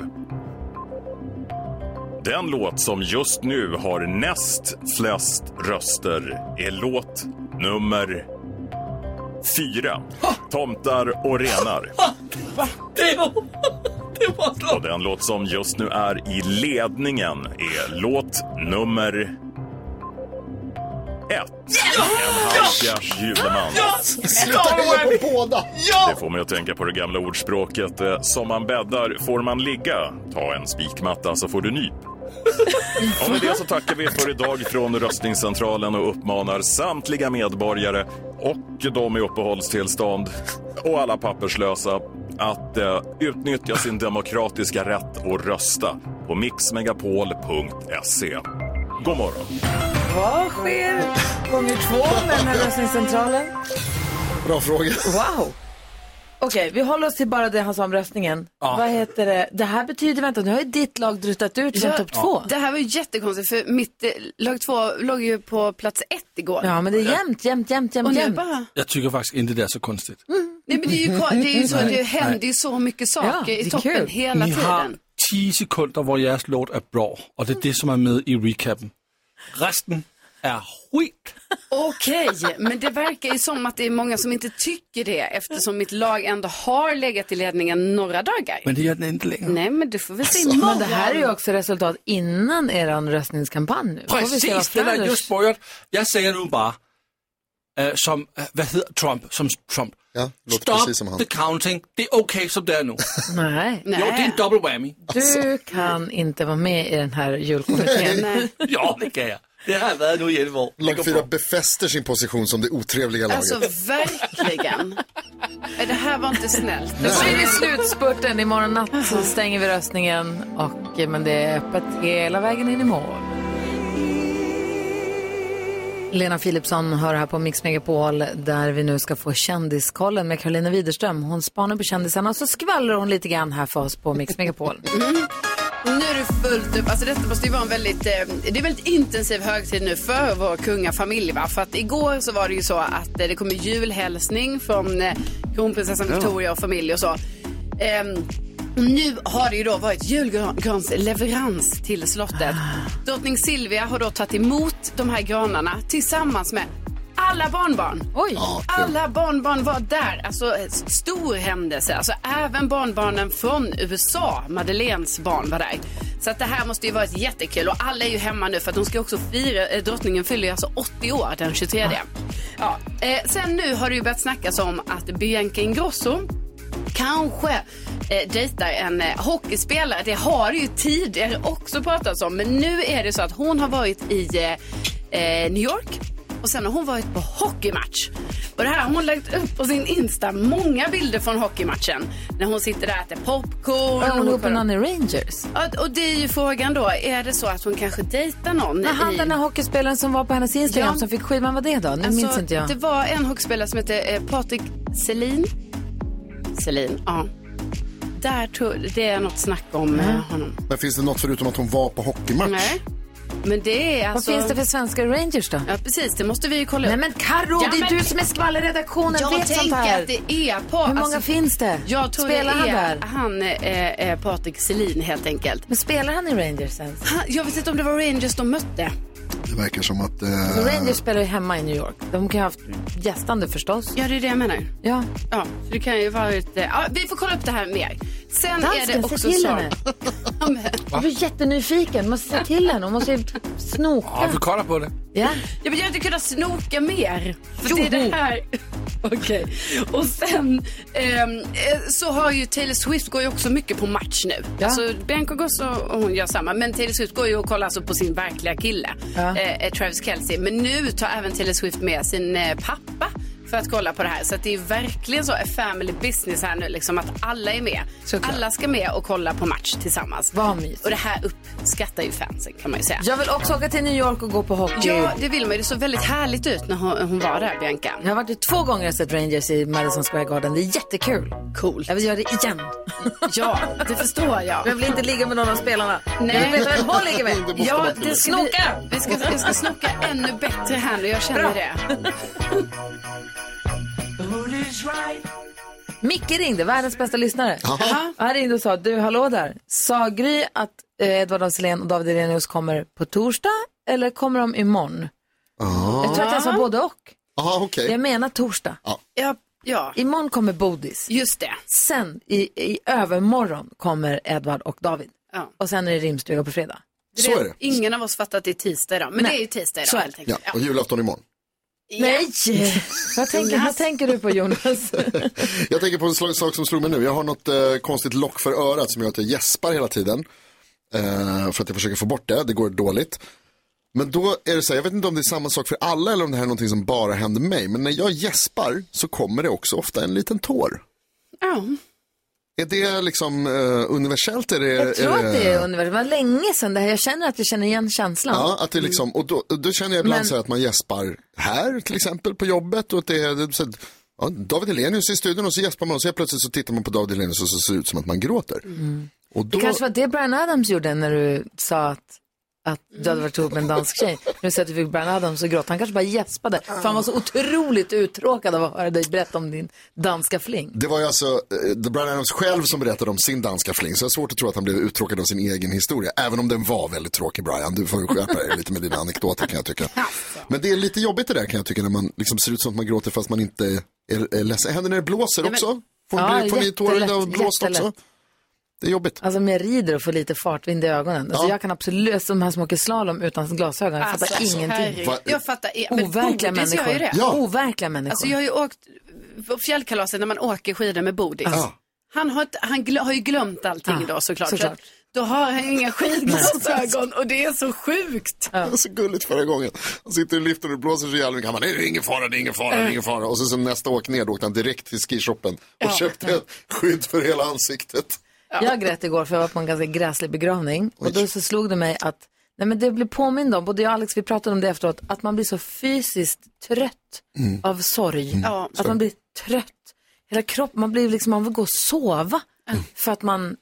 Speaker 15: Den låt som just nu har näst flest röster är låt nummer fyra. Tomtar och renar.
Speaker 13: Det var...
Speaker 15: Och den låt som just nu är i ledningen är låt nummer ett. En halka juleman.
Speaker 4: Sluta heja på båda!
Speaker 15: Det får mig att tänka på det gamla ordspråket eh, Som man bäddar får man ligga Ta en spikmatta så får du nyp och med det så tackar vi för idag från röstningscentralen och uppmanar samtliga medborgare och de i uppehållstillstånd och alla papperslösa att eh, utnyttja sin demokratiska rätt och rösta på mixmegapol.se. God morgon!
Speaker 1: Vad sker gånger två med den här röstningscentralen?
Speaker 4: Bra fråga.
Speaker 1: Wow! Okej, vi håller oss till bara det han sa om röstningen.
Speaker 4: Ja.
Speaker 1: Vad heter det? Det här betyder, vänta, nu har ju ditt lag druttat ut som
Speaker 3: Ja,
Speaker 1: topp två.
Speaker 3: Det här var ju jättekonstigt för mitt eh, lag två låg ju på plats ett igår.
Speaker 1: Ja, men det är jämnt, jämnt, jämnt, jämnt.
Speaker 3: Och nu
Speaker 1: jämnt.
Speaker 3: bara-
Speaker 9: Jag tycker faktiskt inte det är så konstigt.
Speaker 3: Nej men det är ju, ko- det är ju så,
Speaker 9: Nej,
Speaker 3: det händer
Speaker 9: nej.
Speaker 3: ju så mycket
Speaker 1: Ja,
Speaker 3: saker
Speaker 1: det är
Speaker 3: i toppen
Speaker 1: kul.
Speaker 3: hela
Speaker 9: Ni
Speaker 3: tiden.
Speaker 9: har 10 sekunder hvor jeres låt er bra, og det er det, som er med i recappen. Resten er skit.
Speaker 3: Okej, men det verkar ju som att det är många som inte tycker det eftersom mitt lag ändå har legat i ledningen några dagar.
Speaker 9: Men det gör den inte længere.
Speaker 3: Nej, men du får väl se
Speaker 1: Alltså, Men
Speaker 3: imorgon.
Speaker 1: det här är ju också resultat innan er röstningskampanj nu. Får vi se vad
Speaker 9: Præcis, den er
Speaker 1: Flanders-
Speaker 9: just spurgt. Jeg sagde nu bare, øh, som, øh, hvad hedder Trump, som Trump.
Speaker 4: Ja, låter
Speaker 9: Stop
Speaker 4: præcis som ham.
Speaker 9: the counting. Det er okay, som det er nu.
Speaker 1: Nej.
Speaker 9: Jo, det er en double whammy.
Speaker 1: Du kan inte vara med i den här julkommittén.
Speaker 9: jo, det kan jeg. Det har jeg været nu i 11 år. Det går
Speaker 4: Lag 4
Speaker 9: bra.
Speaker 4: befäster sin position som det otrevliga laget.
Speaker 3: Alltså verkligen. Nej, Det här var inte snällt.
Speaker 1: Nu blir det slutspurten. Imorgon natt så stänger vi röstningen. Och, eh, men det är öppet hela vägen in i mål. Lena Philipsson hör här på Mix Megapol där vi nu ska få kändiskollen med Karolina Widerström. Hon spanar på kändisarna och så skvallrar hon lite grann här för oss på Mix Megapol.
Speaker 3: Mm. Nu är det fullt upp. Alltså detta måste ju vara en väldigt, eh, det är en väldigt intensiv högtid nu för vår kungafamilj. Va? För att igår så var det ju så att eh, det kom en julhälsning från eh, kronprinsessan
Speaker 2: Ja.
Speaker 3: Victoria och familj och så. Ehm, och nu har det ju då varit julgransleverans till slottet. Drottning Silvia har då tagit emot de här granarna tillsammans med alla barnbarn.
Speaker 1: Oj.
Speaker 3: Alla barnbarn var där. Alltså s- stor händelse. Alltså även barnbarnen från USA, Madeleines barn var där. Så att det här måste ju varit jättekul och alla är ju hemma nu för att de ska också fira, eh, drottningen fyller ju alltså 80 år den 23. Ja. Eh, sen nu har det ju börjat snackas om att Bianca Ingrosso kanske eh, dejtar en eh, hockeyspelare. Det har det ju tidigare också pratats om. Men nu är det så att hon har varit i eh, eh, New York och sen har hon varit på hockeymatch. Och det här har hon lagt upp på sin Insta, många bilder från hockeymatchen. När hon sitter där och äter popcorn.
Speaker 1: Är hon ihop med
Speaker 3: kollar-
Speaker 1: någon i Rangers?
Speaker 3: Ja, och det är ju frågan då, är det så att hon kanske dejtar någon?
Speaker 1: Men han
Speaker 3: i...
Speaker 1: den här hockeyspelaren som var på hennes Instagram
Speaker 3: Ja.
Speaker 1: som fick skit, vem var det då? Nu
Speaker 3: Alltså,
Speaker 1: minns inte jag.
Speaker 3: Det var en hockeyspelare som hette eh, Patrik Selin. Selin, ja. Där tror, det är något snack om
Speaker 1: Mm.
Speaker 3: eh, honom.
Speaker 4: Men finns det något förutom att hon var på hockeymatch?
Speaker 3: Nej. Men det är
Speaker 1: Vad
Speaker 3: alltså...
Speaker 1: finns det för svenska Rangers då?
Speaker 3: Ja, precis. Det måste vi ju kolla
Speaker 1: Nej
Speaker 3: upp.
Speaker 1: men Karo,
Speaker 3: Ja,
Speaker 1: det är
Speaker 3: men-
Speaker 1: du som är skvallerredaktionen,
Speaker 3: Jag
Speaker 1: vet sånt
Speaker 3: tänker
Speaker 1: här.
Speaker 3: att det är på...
Speaker 1: Hur många finns det?
Speaker 3: Alltså, Jag tror
Speaker 1: Spelar
Speaker 3: det är
Speaker 1: han där?
Speaker 3: han eh, eh, Patrik Selin helt enkelt.
Speaker 1: Men spelar han i Rangers ens?
Speaker 3: Han, jag vet inte om det var Rangers de mötte.
Speaker 4: Det verkar som att... Eh,
Speaker 1: Rangers spelar ju hemma i New York. De kan ju ha haft gästande förstås.
Speaker 3: Ja, det är det jag menar.
Speaker 1: Ja.
Speaker 3: Ja, så det kan ju vara ett... eh, Ja, vi får kolla upp det här mer. Sen är det
Speaker 1: Dansken,
Speaker 3: också
Speaker 1: se till
Speaker 3: så...
Speaker 1: henne. Jag blir jättenyfiken. Måste säga till henne. Hon måste ju
Speaker 9: Ja,
Speaker 1: snoka.
Speaker 9: vi kolder på det.
Speaker 1: Ja.
Speaker 3: Jag vill inte kunna snoka mer. För det är det här. Okej. Och sen ehm, eh, så har ju Taylor Swift går ju också mycket på match nu. Alltså Bianca Goss och och hon gör samma. Men Taylor Swift går ju och kollar alltså på sin verkliga kille.
Speaker 2: Ja.
Speaker 3: Eh, eh, Travis Kelce. Men nu tar även Taylor Swift med sin eh, pappa för att kolla på det här. Så att det är verkligen så a family business här nu, liksom att alla är med. Alla ska med och kolla på match tillsammans.
Speaker 1: Vad mysigt.
Speaker 3: Och det här uppskattar ju fansen kan man ju säga.
Speaker 1: Jag vill också åka till New York och gå på hockey.
Speaker 3: Ja, det vill man ju. Det såg väldigt härligt ut när hon, hon var där, Bianca.
Speaker 1: Jag har varit där två gånger och sett Rangers i Madison Square Garden. Det är jättekul.
Speaker 3: Cool.
Speaker 1: Jag vill göra det igen.
Speaker 3: Ja, det förstår jag.
Speaker 1: Jag vill inte ligga med någon av spelarna.
Speaker 3: Nej.
Speaker 1: Jag vill veta vem hon ligger med.
Speaker 3: Ja, det ska vi,
Speaker 1: Snoka!
Speaker 3: vi, ska, vi ska snoka ännu bättre här nu. Jag känner
Speaker 1: Bra.
Speaker 3: det.
Speaker 1: Micke ringde, världens bästa lyssnare.
Speaker 3: Jaha.
Speaker 1: Och han ringde och sa, du hallå där, sa Gry att eh, Edvard af Sillén och David Hellenius kommer på torsdag eller kommer de imorgon? Jag tror att jag sa både och.
Speaker 4: Aha, okej.
Speaker 1: Jag menar torsdag.
Speaker 3: Ja, ja.
Speaker 1: Imorgon kommer Bodis.
Speaker 3: Just det.
Speaker 1: Sen i, i övermorgon kommer Edvard och David.
Speaker 3: Ja.
Speaker 1: Och sen är det rimstuga på fredag.
Speaker 4: Så är det.
Speaker 3: Ingen av oss fattar att det är tisdag idag. Men
Speaker 1: Nej.
Speaker 3: det är ju tisdag idag
Speaker 1: Så är
Speaker 3: helt
Speaker 4: Ja,
Speaker 3: enkelt.
Speaker 4: och julafton imorgon.
Speaker 1: Nej! vad, tänker, vad tänker du på Jonas?
Speaker 4: Jag tänker på en slags sak som slog mig nu. Jag har något eh, konstigt lock för örat som gör att jag gäspar hela tiden. Eh, för att jag försöker få bort det, det går dåligt. Men då är det så här, jag vet inte om det är samma sak för alla eller om det här är någonting som bara händer mig. Men när jag gäspar så kommer det också ofta en liten tår.
Speaker 3: Ja.
Speaker 4: Är det liksom eh, universellt? Är det,
Speaker 1: Jag tror att det är universum. Det var länge sedan det här. Jag känner att jag känner igen känslan. Mm.
Speaker 4: Ja, att det liksom, och då, och då känner jag ibland
Speaker 1: Men-
Speaker 4: så här att man gäspar här till exempel på jobbet och att det är det är så här, ja, David Hellenius i studion och så gäspar man och så helt plötsligt så tittar man på David Hellenius och så ser det ut som att man gråter. Och
Speaker 1: Mm. Det
Speaker 4: då,
Speaker 1: kanske var det Brian Adams gjorde när du sa att, att du hade varit ihop med en dansk tjej. När du sa att du fick Brian Adams så gråt han kanske bara gäspade. För han var så otroligt uttråkad av att höra dig berätta om din danska fling.
Speaker 4: det var ju alltså eh, The Brian Adams själv som berättade om sin danska fling, så jag har svårt att tro att han blev uttråkad av sin egen historia, även om den var väldigt tråkig Brian. Du får ju skärpa dig lite med dina anekdoter kan jag tycka.
Speaker 1: Alltså.
Speaker 4: Men det är lite jobbigt det där kan jag tycka, när man liksom ser ut som att man gråter fast man inte är, är ledsen. Händer när det blåser
Speaker 1: Ja, men-
Speaker 4: också? Får,
Speaker 1: Ja,
Speaker 4: bli, får ni tårar av
Speaker 1: jättelätt,
Speaker 4: blåst också?
Speaker 1: jättelätt.
Speaker 4: Det är jobbigt.
Speaker 1: Alltså om jag rider och får lite fartvind i ögonen. Alltså
Speaker 4: Ja.
Speaker 1: jag kan absolut, de här som åker slalom utan glasögon, jag fattar ingenting.
Speaker 3: Alltså, herregud. Jag fattar men
Speaker 1: Overkliga
Speaker 3: Bodis gör
Speaker 1: människor.
Speaker 3: ju det.
Speaker 1: Overkliga människor.
Speaker 3: Alltså jag har ju åkt på fjällkalaset när man åker skidor med Bodis.
Speaker 1: Ja.
Speaker 4: Ah.
Speaker 3: Han, har, inte- han glö, har ju glömt allting
Speaker 1: Ja,
Speaker 3: då såklart. Så
Speaker 1: såklart.
Speaker 3: att då har han inga skidglasögon och det är så sjukt.
Speaker 4: Det var så gulligt förra gången. Han sitter i liften och blåser så jävla mycket. Han bara, nej det är ingen fara, det är ingen fara, det är ingen fara. Och sen så nästa åk ner då åkte han direkt till skishoppen och
Speaker 1: Ja.
Speaker 4: köpte ett skydd för hela ansiktet.
Speaker 1: Jag grät igår för jag var på en ganska gräslig begravning. Och då så slog det mig att, nej men det blev påmind om, både jag och Alex vi pratade om det efteråt, att man blir så fysiskt trött
Speaker 13: Mm.
Speaker 1: av sorg.
Speaker 13: Mm. Ja.
Speaker 1: Att man blir trött. Hela kroppen, man blir liksom, man vill gå och sova.
Speaker 13: Mm.
Speaker 1: För att man,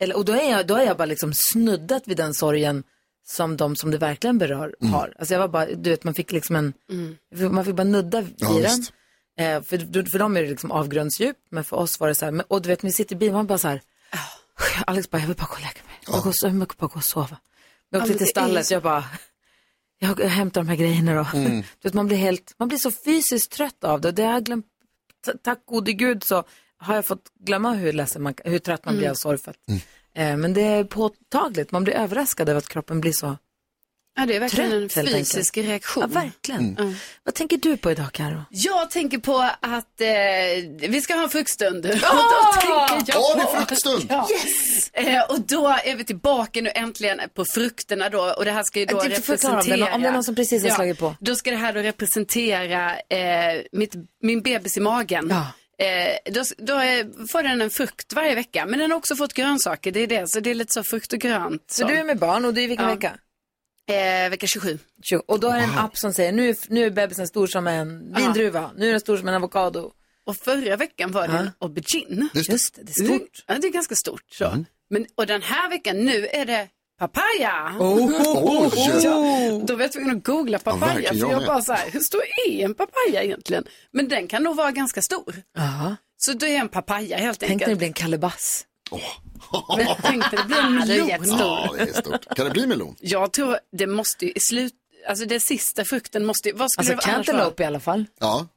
Speaker 1: eller, och då är, jag, då är jag bara liksom snuddat vid den sorgen som de som det verkligen berör
Speaker 13: Mm.
Speaker 1: har. Alltså jag var bara, du vet man fick liksom en, man fick bara nudda vid
Speaker 13: Ja,
Speaker 1: den.
Speaker 13: visst.
Speaker 1: Eh, för, för dem är det liksom avgrundsdjup, men för oss var det så här, men- och du vet, när vi sitter i bilen, man bara så här, Alex bara, jag vill bara gå och lägga mig. Jag, går, jag vill bara gå och sova. Jag
Speaker 13: Ja,
Speaker 1: åkte
Speaker 13: men
Speaker 1: till
Speaker 13: det är-
Speaker 1: stallet, Alltså, så jag bara, jag, jag hämtar de här grejerna då.
Speaker 13: Mm.
Speaker 1: Du vet, man, blir helt, man blir så fysiskt trött av det. det har jag glömt, ta- tack gode gud så har jag fått glömma hur, ledsen man, hur trött man
Speaker 13: Mm.
Speaker 1: blir av sorg. För att, eh, men det är påtagligt, man blir överraskad över att kroppen blir så
Speaker 3: Ja, det är verkligen
Speaker 1: Trött,
Speaker 3: en
Speaker 1: helt
Speaker 3: fysisk
Speaker 1: enkelt.
Speaker 3: reaktion.
Speaker 1: Ja, verkligen. Vad tänker du på idag Karo?
Speaker 3: Jag tänker på att eh, vi ska ha en fruktstund.
Speaker 1: Ja! Har vi fruktstund?
Speaker 3: Ja. Eh, och då är vi tillbaka nu äntligen på frukterna då. Och det här ska ju då
Speaker 1: Äh, du får förklara
Speaker 3: representera.
Speaker 1: om det är någon- om det är någon som precis har slagit på.
Speaker 3: Då ska det här då representera eh, mitt, min bebis i magen. Eh, då då eh, får den en frukt varje vecka. Men den har också fått grönsaker. Det är det. Så det är lite så frukt och grönt.
Speaker 1: Så du är med barn och du är i vilken vecka?
Speaker 3: Eh, vecka 27.
Speaker 1: Tjo. Och då är det en app som säger nu, är- nu är bebisen stor som en vindruva, nu är den stor som en avokado.
Speaker 3: Och förra veckan var det en aubergine.
Speaker 1: Just det. Just det, det är stort.
Speaker 3: Ja, det är ganska stort. Så. Men, och den här veckan nu är det papaya.
Speaker 13: Oh, oj.
Speaker 3: Ja, då var jag tvungen att googla
Speaker 13: Ja,
Speaker 3: papaya.
Speaker 13: verkligen,
Speaker 3: för
Speaker 13: jag
Speaker 3: jag
Speaker 13: med.
Speaker 3: bara så här, hur stor är en papaya egentligen? Men den kan nog vara ganska stor.
Speaker 1: Aha.
Speaker 3: Så det är en papaya helt
Speaker 1: Tänk när det
Speaker 3: enkelt.
Speaker 1: blir en kalabas.
Speaker 3: Men tänk dig, det blir en
Speaker 1: Ja, det är
Speaker 3: miljon.
Speaker 1: jättestort. Ja, det är
Speaker 4: stort. Kan det bli melon?
Speaker 3: Jag tror det måste ju i slut, alltså det sista frukten måste ju, vad skulle
Speaker 1: Alltså
Speaker 3: det vara annars vara?
Speaker 1: cantaloupe i alla fall.
Speaker 4: Ja.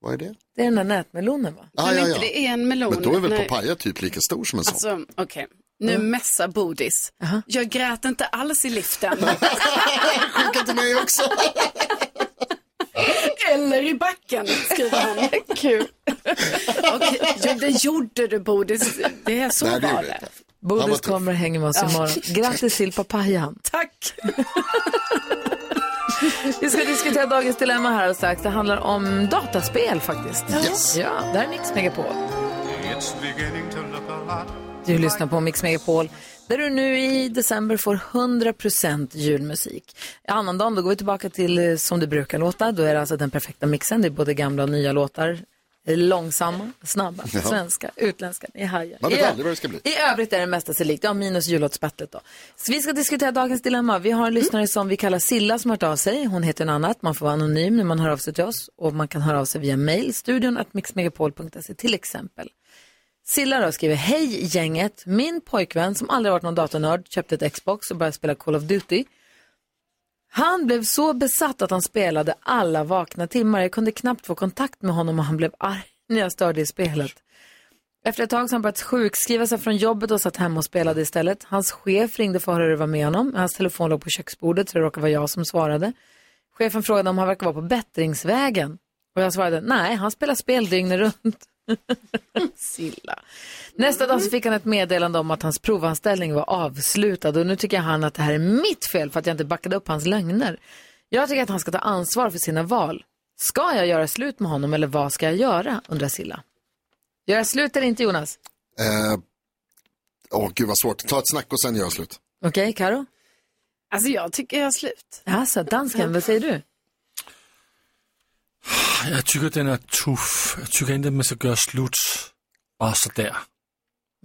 Speaker 4: Vad är det?
Speaker 1: Det är den där nätmelonen va?
Speaker 4: Ah,
Speaker 3: Men
Speaker 4: ja,
Speaker 3: inte
Speaker 4: ja.
Speaker 3: det är en melon.
Speaker 4: Men då är väl
Speaker 3: Nej.
Speaker 4: papaya typ lika stor som en sån?
Speaker 3: Alltså, okej. Nu
Speaker 4: Mm.
Speaker 3: mässar Bodis. Jag grät inte alls i liften.
Speaker 4: Skicka till mig också.
Speaker 3: Eller i backen, skriver han. Kul. Okej, jo, det gjorde du Bodis. Det är så
Speaker 1: Nej, det
Speaker 3: var
Speaker 1: gjorde
Speaker 3: det. Han var
Speaker 1: Bodis
Speaker 3: tuff.
Speaker 1: kommer och hänger med oss
Speaker 3: Ja.
Speaker 1: imorgon. Grattis till papayan.
Speaker 3: Tack.
Speaker 1: Vi ska diskutera dagens dilemma här och strax. Det handlar om dataspel faktiskt.
Speaker 14: Yes.
Speaker 1: Ja, där är Mix Megapol.
Speaker 14: It's beginning to look a lot
Speaker 1: Du lyssnar på Mix Megapol där du nu i december får 100% julmusik. I Annandagen då går vi tillbaka till eh, som det brukar låta. Då är det alltså den perfekta mixen. Det är både gamla och nya låtar. Långsamma, snabba,
Speaker 4: Ja.
Speaker 1: svenska, utländska. Ni hajar.
Speaker 4: Man vet
Speaker 1: I ö-
Speaker 4: aldrig vad det ska bli.
Speaker 1: I övrigt är det mesta sig likt. Ja, minus jullåtsbattlet då. Så vi ska diskutera dagens dilemma. Vi har en lyssnare
Speaker 4: Mm.
Speaker 1: som vi kallar Silla som har hört av sig. Hon heter något annat. Man får vara anonym när man hör av sig till oss. Och man kan höra av sig via mail. Studion at mixmegapol.se till exempel. Silla då skriver, hej gänget, min pojkvän som aldrig varit någon datornörd köpte ett Xbox och började spela Call of Duty. Han blev så besatt att han spelade alla vakna timmar. Jag kunde knappt få kontakt med honom och han blev arg när jag störde i spelet. Efter ett tag så har han börjat sjukskriva sig från jobbet och satt hemma och spelade istället. Hans chef ringde för att höra hur det var med honom. Hans telefon låg på köksbordet så det råkade vara jag som svarade. Chefen frågade om han verkar vara på bättringsvägen. Och jag svarade, nej, han spelar spel dygnet runt. Silla. Nästa dag så fick han ett meddelande om att hans provanställning var avslutad och nu tycker han att det här är mitt fel för att jag inte backade upp hans lögner. Jag tycker att han ska ta ansvar för sina val. Ska jag göra slut med honom eller vad ska jag göra? undrar Silla. Göra slut eller inte Jonas?
Speaker 4: Eh, Åh, gud vad svårt. Ta ett snack och sen gör jag slut.
Speaker 1: Okej, Karo?
Speaker 3: Alltså jag tycker jag har slut.
Speaker 1: Alltså, dansken, vad säger du?
Speaker 9: Jeg tykker, den er tuff. Jeg tykker ikke, at man skal gøre slut. Og så der.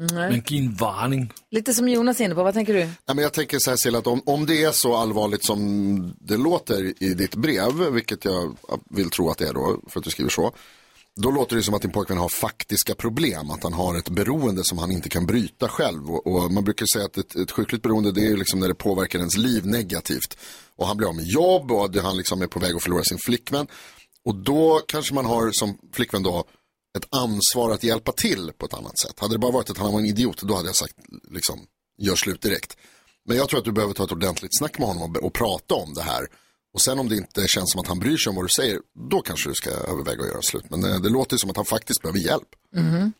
Speaker 1: Nej.
Speaker 9: Men giv en varning.
Speaker 1: Lite som Jonas är inne på, vad tänker du?
Speaker 4: Nej, men jag tänker så här Silla, att om, om det är så allvarligt som det låter i ditt brev, vilket jag vill tro att det är då, för att du skriver så, då låter det som att din pojkvän har faktiska problem, att han har ett beroende som han inte kan bryta själv. Och, och man brukar säga att ett, ett sjukligt beroende det är ju liksom när det påverkar ens liv negativt. Och han blir av med jobb och det, han liksom är på väg att förlora sin flickvän. Och då kanske man har som flickvän då ett ansvar att hjälpa till på ett annat sätt. Hade det bara varit att han var en idiot, då hade jag sagt liksom, gör slut direkt. Men jag tror att du behöver ta ett ordentligt snack med honom och, och prata om det här. Och sen om det inte känns som att han bryr sig om vad du säger, då kanske du ska överväga att göra slut. Men eh, det låter ju som att han faktiskt behöver hjälp.
Speaker 1: Mhm.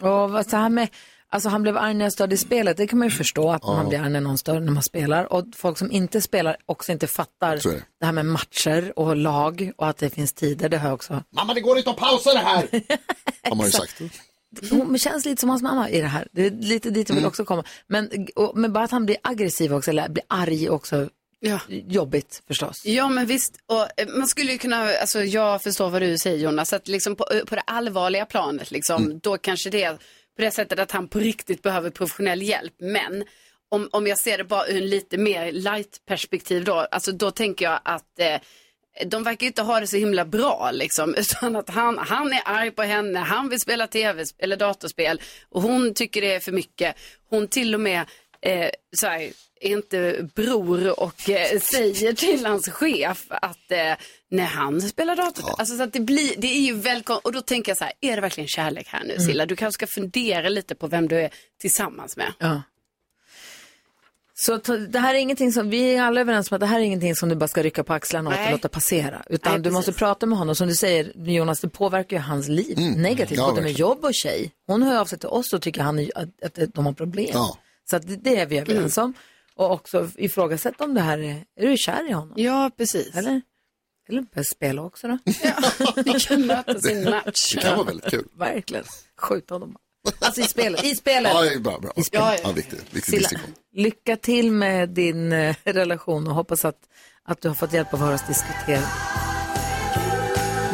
Speaker 1: Och vad så här med, alltså han blev arg när jag störde i spelet. Det kan man ju förstå att man blir arg när någon stör när man spelar. Och folk som inte spelar också inte fattar
Speaker 4: Så är det.
Speaker 1: det här med matcher och lag och att det finns tider. Det hör jag också.
Speaker 4: Mamma, det går inte att pausa det här! Har man ju sagt.
Speaker 1: Hon känns lite som hans mamma i det här. Det är lite dit jag vill
Speaker 4: Mm.
Speaker 1: också komma. Men, och, men bara att han blir aggressiv också, eller blir arg också, jobbigt förstås.
Speaker 3: Ja, men visst. Och, eh, man skulle ju kunna, alltså, jag förstår vad du säger Jonas, att liksom på, eh, på det allvarliga planet, liksom,
Speaker 1: Mm.
Speaker 3: då kanske det är på det sättet att han på riktigt behöver professionell hjälp. Men om, om jag ser det bara ur en lite mer light perspektiv då, alltså, då tänker jag att eh, de verkar ju inte ha det så himla bra liksom, utan att han, han är arg på henne, han vill spela tv eller datorspel och hon tycker det är för mycket. Hon till och med eh, så här, är inte bror och eh, säger till hans chef att eh, när han spelar dator, alltså så att det blir, det är ju välkommet och då tänker jag så här, är det verkligen kärlek här nu
Speaker 1: Mm.
Speaker 3: Silla? Du kanske ska fundera lite på vem du är tillsammans med.
Speaker 1: Ja. Så ta- det här är ingenting som, vi är alla överens om att det här är ingenting som du bara ska rycka på axlarna åt och
Speaker 3: Nej.
Speaker 1: låta passera. Utan
Speaker 3: Nej,
Speaker 1: du måste prata med honom. Som du säger Jonas, det påverkar ju hans liv
Speaker 4: Mm.
Speaker 1: negativt.
Speaker 4: Ja,
Speaker 1: både med
Speaker 4: verkligen.
Speaker 1: jobb och tjej. Hon hör av sig till oss och tycker han är, att, att de har problem.
Speaker 4: Ja.
Speaker 1: Så att det, det är vi
Speaker 3: Mm.
Speaker 1: överens om. Och också ifrågasätt om det här är, är du kär i honom?
Speaker 3: Ja, precis.
Speaker 1: Eller? Eller börja spela också då.
Speaker 3: Ni kan mötas i en match.
Speaker 4: Det kan vara väldigt kul.
Speaker 1: Verkligen. Skjuta honom. Alltså i spelet. I spelet.
Speaker 4: Ja, det är bra, bra.
Speaker 1: I spelet.
Speaker 4: Ja, viktig, viktig
Speaker 1: Silla,
Speaker 4: distinktion.
Speaker 1: lycka till med din eh, relation och hoppas att, att du har fått hjälp av att höra oss diskutera.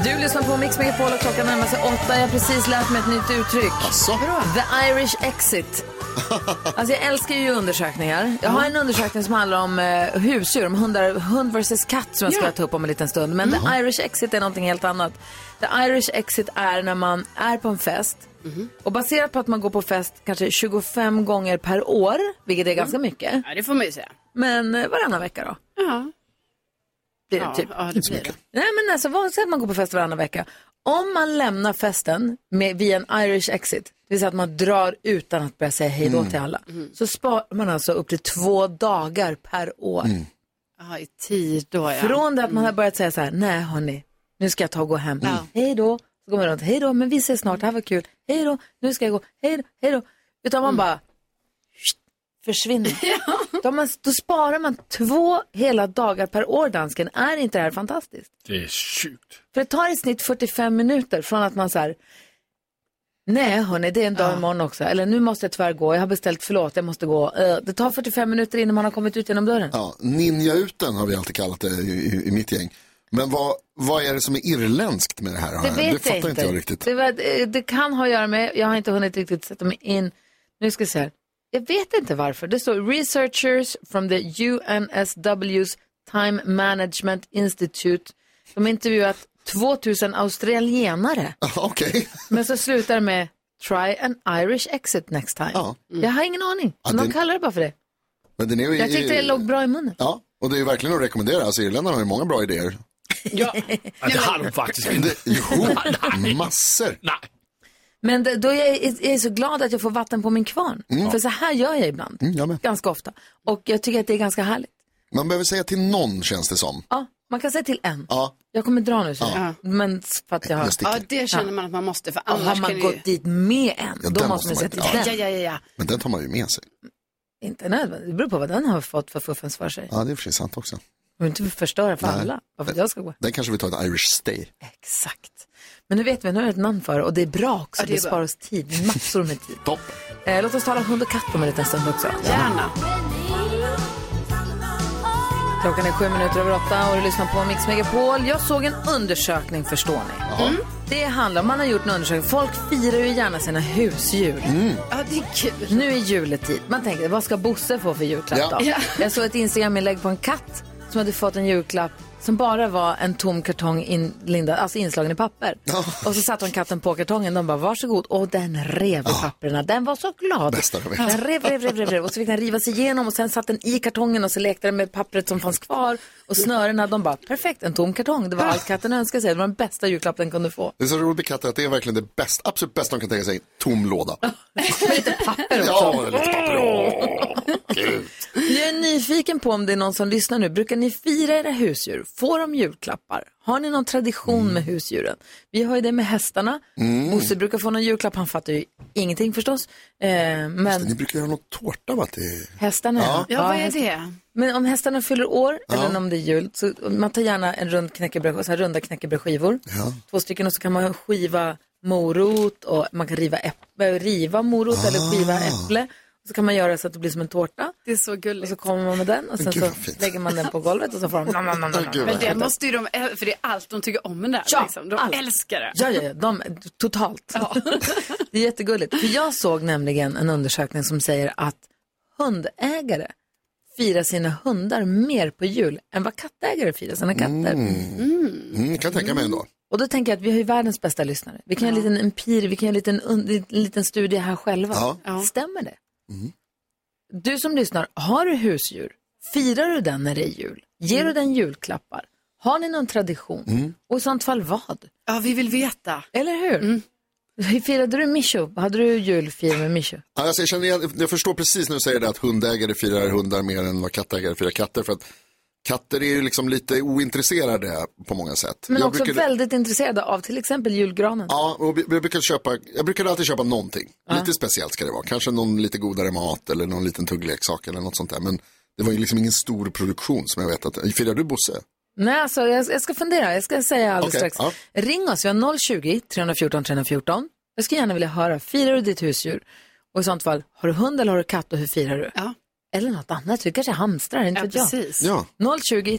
Speaker 1: Du lyssnar på Mix Megapol och klockan närmar sig åtta. Jag har precis lärt mig ett nytt uttryck. The Irish exit. Alltså jag älskar ju undersökningar. Jag har en undersökning som handlar om eh, husdjur, om hundar, hund versus katt som jag ska ta upp om en liten stund. Men the Irish exit är någonting helt annat. The Irish exit är när man är på en fest och baserat på att man går på fest kanske 25 gånger per år, vilket är ganska mycket.
Speaker 3: Ja, det får man ju säga.
Speaker 1: Men eh, varannan vecka då?
Speaker 3: Ja.
Speaker 1: Blir det
Speaker 3: ja,
Speaker 1: typ.
Speaker 3: Ja, det blir det.
Speaker 1: Nej men alltså vanligt att man går på fest varannan vecka. Om man lämnar festen med, via en Irish exit, det vill säga att man drar utan att börja säga hej då till alla, så sparar man alltså upp till två dagar per år.
Speaker 3: Ja, i tid då ja.
Speaker 1: Från det att man har börjat säga så här, nej hörni, nu ska jag ta och gå hem, hej då, så går man runt, hej då, men vi Mm. ses snart, det här var kul, hej då, nu ska jag gå, hej då, hej då. Utan man bara, försvinna. då, man, då sparar man två hela dagar per år, dansken. Är inte det här fantastiskt?
Speaker 9: Det är sjukt.
Speaker 1: För det tar i snitt 45 minuter från att man så här, nej hörni, det är en dag imorgon också. Eller nu måste jag tyvärr gå, jag har beställt, förlåt, jag måste gå. Eh, Det tar 45 minuter innan man har kommit ut genom dörren.
Speaker 4: Ja, ninjauten har vi alltid kallat det i, i, i mitt gäng. Men vad, vad är det som är irländskt med det här? har
Speaker 1: Det
Speaker 4: jag-
Speaker 1: vet
Speaker 4: det fattar
Speaker 1: jag
Speaker 4: inte jag riktigt.
Speaker 1: Det, var, det, det kan ha att göra med, jag har inte hunnit riktigt sätta mig in. Nu ska vi se här. Jag vet inte varför. Det står researchers from the UNSW's Time Management Institute. De har intervjuat 2000 australienare.
Speaker 4: Okej.
Speaker 1: Men så slutar det med try an Irish exit next time. Jag har ingen aning.
Speaker 4: Ja,
Speaker 1: De
Speaker 4: det-
Speaker 1: kallar det bara för det.
Speaker 4: Men den är ju,
Speaker 1: Jag tyckte det låg bra i munnen.
Speaker 4: Ja, och det är ju verkligen att rekommendera. Alltså irländarna har ju många bra idéer.
Speaker 9: Ja, det har de faktiskt inte.
Speaker 4: Jo, massor.
Speaker 1: Men det- då är jag, jag är så glad att jag får vatten på min kvarn.
Speaker 4: Mm.
Speaker 1: För så här gör jag ibland.
Speaker 4: Mm, jag med.
Speaker 1: Ganska ofta. Och jag tycker att det är ganska härligt.
Speaker 4: Man behöver säga till någon känns det som.
Speaker 1: Ja, man kan säga till en.
Speaker 4: Ja.
Speaker 1: Jag kommer dra nu, så.
Speaker 4: Ja.
Speaker 1: men s- för att jag har...
Speaker 4: Jag sticker.
Speaker 3: Ja, det känner man att man måste för
Speaker 1: Ja.
Speaker 3: annars
Speaker 1: Har
Speaker 3: kan
Speaker 1: man
Speaker 3: det ju...
Speaker 1: gått dit med en,
Speaker 4: Ja,
Speaker 1: då
Speaker 4: den
Speaker 1: måste man
Speaker 4: måste
Speaker 1: säga
Speaker 4: man
Speaker 1: till
Speaker 4: inte-
Speaker 1: den.
Speaker 4: ja.
Speaker 1: ja, ja.
Speaker 4: Men den tar man ju med sig.
Speaker 1: Inte nödvändigt, det beror på vad den har fått för fuffens för sig.
Speaker 4: Ja, det är för sig sant också.
Speaker 1: Man inte förstöra för
Speaker 4: Nej.
Speaker 1: alla, varför jag ska gå.
Speaker 4: Den kanske vi tar ett Irish stay.
Speaker 1: Exakt. Men nu vet vi, nu har jag ett namn för det och det är bra också.
Speaker 3: Ja,
Speaker 1: det
Speaker 3: det är bra.
Speaker 1: sparar oss tid, massor med tid.
Speaker 4: Topp.
Speaker 1: Eh, låt oss tala hund och katt om en liten stund också.
Speaker 3: Gärna.
Speaker 1: Klockan är sju minuter över åtta och du lyssnar på Mix Megapol. Jag såg en undersökning, förstår ni. Mm. Det handlar om, man har gjort en undersökning, folk firar ju gärna sina husdjur.
Speaker 3: Ja, det är kul.
Speaker 1: Nu är juletid. Man tänker, vad ska Bosse få för julklapp
Speaker 3: Ja.
Speaker 1: då?
Speaker 3: Ja.
Speaker 1: Jag såg ett Instagram-inlägg på en katt som hade fått en julklapp som bara var en tom kartong inlindad, alltså inslagen i papper. Och så satte hon katten på kartongen. De bara, varsågod. Och den rev i papperna. Den var så glad.
Speaker 4: Bästa jag vet.
Speaker 1: Den rev, rev, rev, rev, rev. Och så fick den riva sig igenom och sen satt den i kartongen och så lekte den med pappret som fanns kvar. Och snörena, de bara, perfekt, en tom kartong. Det var allt katten önskade sig. Det var den bästa julklapp den kunde få.
Speaker 4: Det är så roligt med katter att det är verkligen det bästa, absolut bästa de kan tänka sig, en tom låda.
Speaker 1: Papper också.
Speaker 4: Ja, lite papper. Åh, gud.
Speaker 1: Jag är nyfiken på om det är någon som lyssnar nu. Brukar ni fira era husdjur? Får de julklappar? Har ni någon tradition med husdjuren? Vi har ju det med hästarna.
Speaker 4: Mm.
Speaker 1: Bosse brukar få någon julklapp. Han fattar ju ingenting förstås. Eh,
Speaker 4: Men Ni
Speaker 1: men
Speaker 4: brukar göra någon tårta va? Till...
Speaker 1: hästarna,
Speaker 4: Ja.
Speaker 3: Ja, vad är
Speaker 1: hästar-
Speaker 3: det?
Speaker 1: Men om hästarna fyller år,
Speaker 4: Ja.
Speaker 1: eller om det är jul, så man tar gärna en rund knäckebröd, så här runda knäckebrödsskivor.
Speaker 4: Ja.
Speaker 1: Två stycken och så kan man skiva morot och man kan riva, äpp- riva morot
Speaker 3: Ah.
Speaker 1: eller skiva äpple. Och så kan man göra så att det blir som en tårta.
Speaker 3: Det är så gulligt.
Speaker 1: Och så kommer man med den och sen
Speaker 3: Gud,
Speaker 1: så
Speaker 3: vad fint.
Speaker 1: lägger man den på golvet och så får de nam, nam, nam, nam, nam.
Speaker 3: Men det måste ju de, äl- för det är allt de tycker om den där.
Speaker 1: Ja,
Speaker 3: liksom. De
Speaker 1: allt.
Speaker 3: älskar det.
Speaker 1: Ja, ja, ja, de, totalt. det är jättegulligt. För jag såg nämligen en undersökning som säger att hundägare firar sina hundar mer på jul än vad kattägare firar sina katter.
Speaker 4: Mm, kan jag tänka mig ändå.
Speaker 1: Och då tänker jag att vi har ju världens bästa lyssnare. Vi kan göra en liten empir, vi kan göra en liten, un- en liten studie här själva.
Speaker 4: Ja. Mm.
Speaker 1: Stämmer det? Du som lyssnar, har du husdjur? Firar du den när det är jul? Ger
Speaker 4: Mm.
Speaker 1: du den julklappar? Har ni någon tradition? Och i sånt fall vad?
Speaker 3: Ja, vi vill veta.
Speaker 1: Eller hur? Hur Mm. Firade du Mischo? Hade du julfir med Mischo?
Speaker 4: Ja, Alltså, jag, känner igen, jag förstår precis när du säger det att hundägare firar hundar mer än vad kattägare firar katter. För att katter är ju liksom lite ointresserade på många sätt.
Speaker 1: Men
Speaker 4: jag
Speaker 1: också
Speaker 4: brukar,
Speaker 1: väldigt intresserade av till exempel julgranen.
Speaker 4: Ja, och jag brukar, köpa, jag brukar alltid köpa någonting. Lite speciellt ska det vara. Kanske någon lite godare mat eller någon liten tuggleksak eller något sånt där. Men det var ju liksom ingen stor produktion som jag vet att, firar du Bosse?
Speaker 1: Nej, alltså, jag, jag ska fundera. Jag ska säga alldeles
Speaker 4: Okej,
Speaker 1: strax.
Speaker 4: ja.
Speaker 1: Ring oss, vi har 020-314 314. Jag skulle gärna vilja höra, firar du ditt husdjur? Och i sånt fall, har du hund eller har du katt och hur firar du? Eller något annat, du kanske hamstrar, inte
Speaker 3: Ja,
Speaker 1: vet jag.
Speaker 3: precis.
Speaker 4: Ja.
Speaker 1: 020-314 314.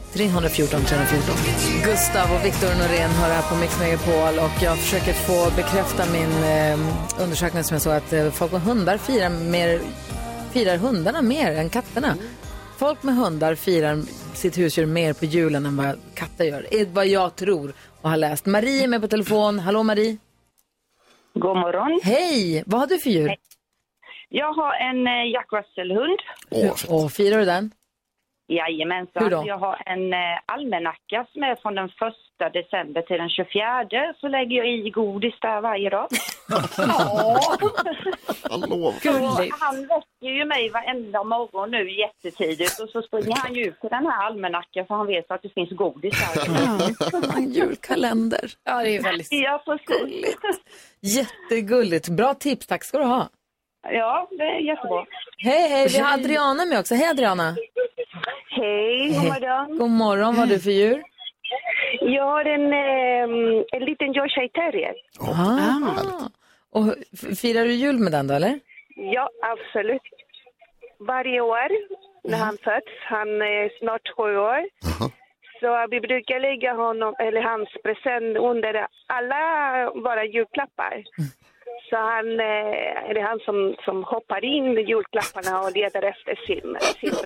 Speaker 1: Gustav och Viktor Norén hör här på Mix Megapol och jag försöker få bekräfta min eh, undersökning som jag såg att eh, folk med hundar firar, mer, firar hundarna mer än katterna. Folk med hundar firar sitt husdjur mer på julen än vad katter gör. Det är vad jag tror och har läst. Marie är med på telefon. Hallå Marie!
Speaker 16: God morgon.
Speaker 1: Hej! Vad har du för djur?
Speaker 16: Jag har en eh, Jack Russell-hund.
Speaker 1: Åh, firar du den?
Speaker 16: Jajamensan.
Speaker 1: Hur då?
Speaker 16: Jag har en eh, almanacka som är från den 1 december till den 24. Så lägger jag i godis där varje dag.
Speaker 4: Hallå.
Speaker 16: Och han väcker ju mig varenda morgon nu jättetidigt och så springer han ju ut till den här almanackan för han vet att det finns godis där.
Speaker 1: En julkalender.
Speaker 3: Ja, det är väldigt
Speaker 16: ja, precis.
Speaker 1: Jättegulligt. Bra tips, tack ska du ha.
Speaker 17: Ja, det är jättebra.
Speaker 1: Hej, hej, vi har Adriana med också. Hej Adriana!
Speaker 18: Hej, god morgon.
Speaker 1: God morgon, vad har du för djur?
Speaker 18: Jag har en, ehm, en liten Yorkshire terrier.
Speaker 1: ah. Och hur- f- firar du jul med den då eller?
Speaker 18: Ja, absolut. Varje år när han föds, han eh, är snart sju år, så vi brukar lägga honom, eller hans present under alla våra julklappar. Så han, eh, är det han som, som hoppar in i julklapparna och letar efter sin. sin.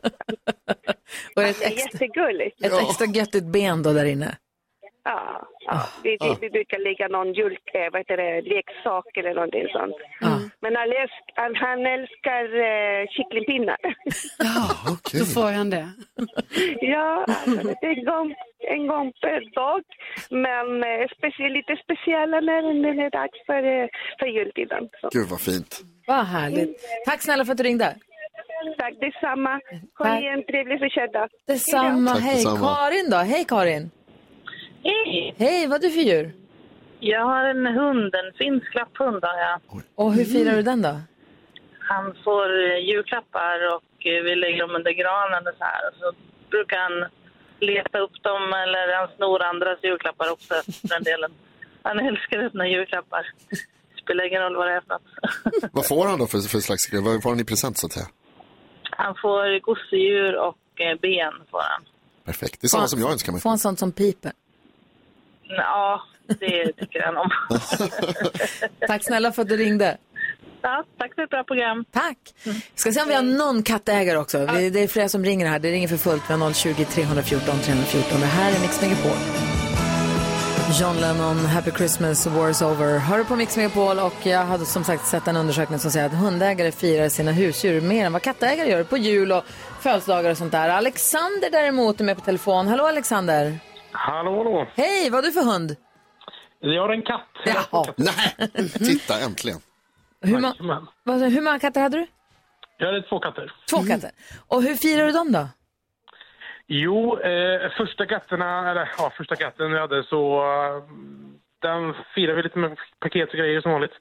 Speaker 1: Och
Speaker 18: det är jättegulligt.
Speaker 1: Ett extra göttigt ben då där inne.
Speaker 18: Ja, ja. Vi, vi, vi brukar lägga någon jul, eh, vad heter det, leksak eller någonting sånt. Men han, älsk, han, han älskar eh, kycklingpinnar.
Speaker 4: Ah,
Speaker 3: Då får han det.
Speaker 18: ja, alltså, det är en gång, en gång per dag. Men eh, specie, lite speciella när när det är dags för, eh, för jultiden. Så.
Speaker 4: Gud vad fint.
Speaker 1: Vad härligt. Tack snälla för att du ringde.
Speaker 18: Tack detsamma. Ha en trevlig fortsättning.
Speaker 1: Detsamma.
Speaker 18: Hej då.
Speaker 1: Hej Karin då. Hej Karin.
Speaker 19: Hej!
Speaker 1: Hej, vad har du för djur?
Speaker 19: Jag har en hund, en finsk lapphund har jag.
Speaker 1: Och hur
Speaker 4: Mm.
Speaker 1: firar du den då?
Speaker 19: Han får eh, julklappar och eh, vi lägger dem under granen och så här. Och så brukar han leta upp dem eller han snor andras julklappar också för den delen. Han älskar öppna julklappar. Spelar ingen roll vad det är för något.
Speaker 4: Vad får han då för, för slags grej? Vad får han i present så att säga?
Speaker 19: Han får gosedjur och eh, ben får han.
Speaker 4: Perfekt. Det är samma som jag önskar mig.
Speaker 1: Få en sån som piper.
Speaker 19: Ja, det tycker han om.
Speaker 1: Tack snälla för att du ringde.
Speaker 19: Ja, tack för ett bra program.
Speaker 1: Tack. Vi ska se om vi har någon kattägare också. Vi- Det är flera som ringer här. Det ringer för fullt. Vi har 020 314 314. Det här är Mix Megapol. John Lennon, Happy Christmas, War's Over. Hör du på Mix Megapol och jag hade som sagt sett en undersökning som säger att hundägare firar sina husdjur mer än vad kattägare gör på jul och födelsedagar och sånt där. Alexander däremot är med på telefon. Hallå Alexander!
Speaker 20: Hallå, hallå.
Speaker 1: Hej, vad har du för hund?
Speaker 20: Jag har en katt.
Speaker 1: Jaha.
Speaker 4: Nej, titta äntligen.
Speaker 1: Hur, ma- vad- hur många katter hade du?
Speaker 20: Jag hade två katter.
Speaker 1: Två katter. Och hur firar du dem då?
Speaker 20: Jo, eh, första katterna, eller ja, första katten jag hade så eh, den firade vi lite med paket och grejer som vanligt.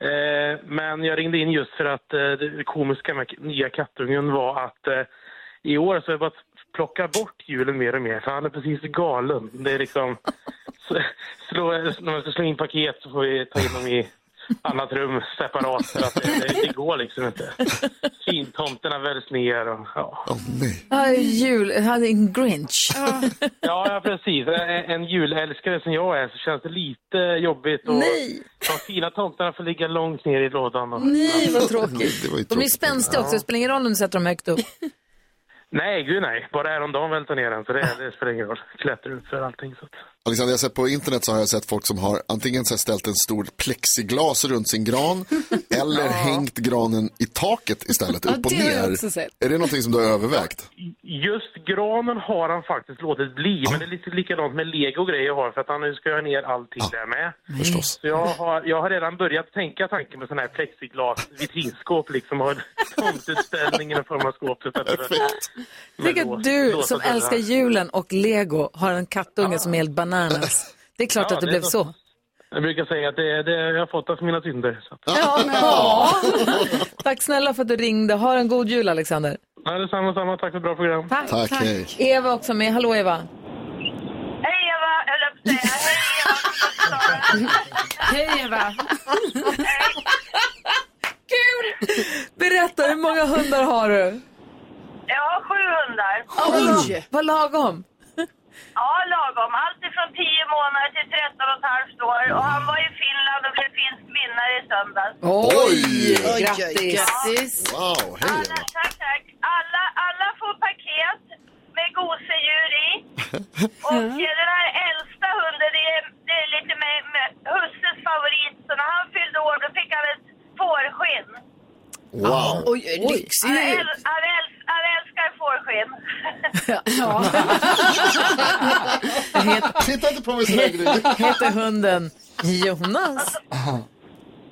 Speaker 20: Eh, men jag ringde in just för att eh, det komiska med k- nya kattungen var att eh, i år så har jag börjat plocka bort julen mer och mer för han är precis galen. Det är liksom, så, slå, när man ska slå in paket så får vi ta in dem i annat rum separat för att det, det, det går liksom inte. Fintomterna väljs ner och ja.
Speaker 1: Ja, jul, jag hade en grinch.
Speaker 20: Ja, ja, precis. En- En julälskare som jag är så känns det lite jobbigt. Och
Speaker 1: Nej.
Speaker 20: De fina tomtarna får ligga långt ner i lådan. Och...
Speaker 1: Nej, vad
Speaker 20: Mm.
Speaker 1: tråkigt. De är spänstiga också, det
Speaker 20: Ja.
Speaker 1: spelar ingen roll om du sätter dem högt upp.
Speaker 20: Nej, gud nej. Bara häromdagen välte ner den, så det, det spelar ingen roll. Klättrar ut för allting. Så. att-
Speaker 4: Alexander, jag har sett på internet så har jag sett folk som har antingen så här ställt en stor plexiglas runt sin gran eller hängt granen i taket istället,
Speaker 20: Ja,
Speaker 4: upp och
Speaker 20: det har jag
Speaker 4: ner.
Speaker 20: också sett.
Speaker 4: Är det någonting som du har övervägt?
Speaker 20: Just granen har han faktiskt låtit bli, men det är lite likadant med lego och grejer jag har, för att han nu ska jag ha ner allting där med.
Speaker 4: Förstås.
Speaker 20: Så jag har, jag har redan börjat tänka tanken med sån här plexiglas vitrinskåp liksom, och tomteställning i någon form av skåp. typ. Perfekt.
Speaker 1: Tänk att du som älskar julen och lego har en kattunge som är helt bananas. Det är klart
Speaker 20: Ja,
Speaker 1: att det,
Speaker 20: det är
Speaker 1: blev
Speaker 20: så.
Speaker 1: så.
Speaker 20: Jag brukar säga att det, det jag har fått av mina synder. Så.
Speaker 1: Ja, men, ja. Tack snälla för att du ringde. Ha en god jul Alexander.
Speaker 20: Ja, detsamma, samma. Tack för ett bra program.
Speaker 1: Tack. Eva också med. Hallå Eva.
Speaker 3: Hej Eva, höll jag på att säga. Hej Eva.
Speaker 1: Kul! Berätta, hur många hundar har du?
Speaker 21: Jag har sju hundar.
Speaker 1: Oj, Vad lagom.
Speaker 21: Ja, lagom. Allt ifrån 10 månader till 13 och ett halvt år. Och han var i Finland och blev finsk vinnare i söndags.
Speaker 4: Oj!
Speaker 21: Oj,
Speaker 1: Grattis!
Speaker 4: Wow, hej Eva.
Speaker 21: Tack, tack. Alla, alla får paket med gosedjur i. Och eh, den här äldsta hunden, det är, det är lite med, med husses favorit. Så när han fyllde år då fick han ett fårskinn.
Speaker 4: Wow.
Speaker 21: Oj, han, äl, han, äl, han älskar fårskinn.
Speaker 4: Titta inte på mig sådär, Gry.
Speaker 1: Heter hunden Jonas?
Speaker 3: Alltså,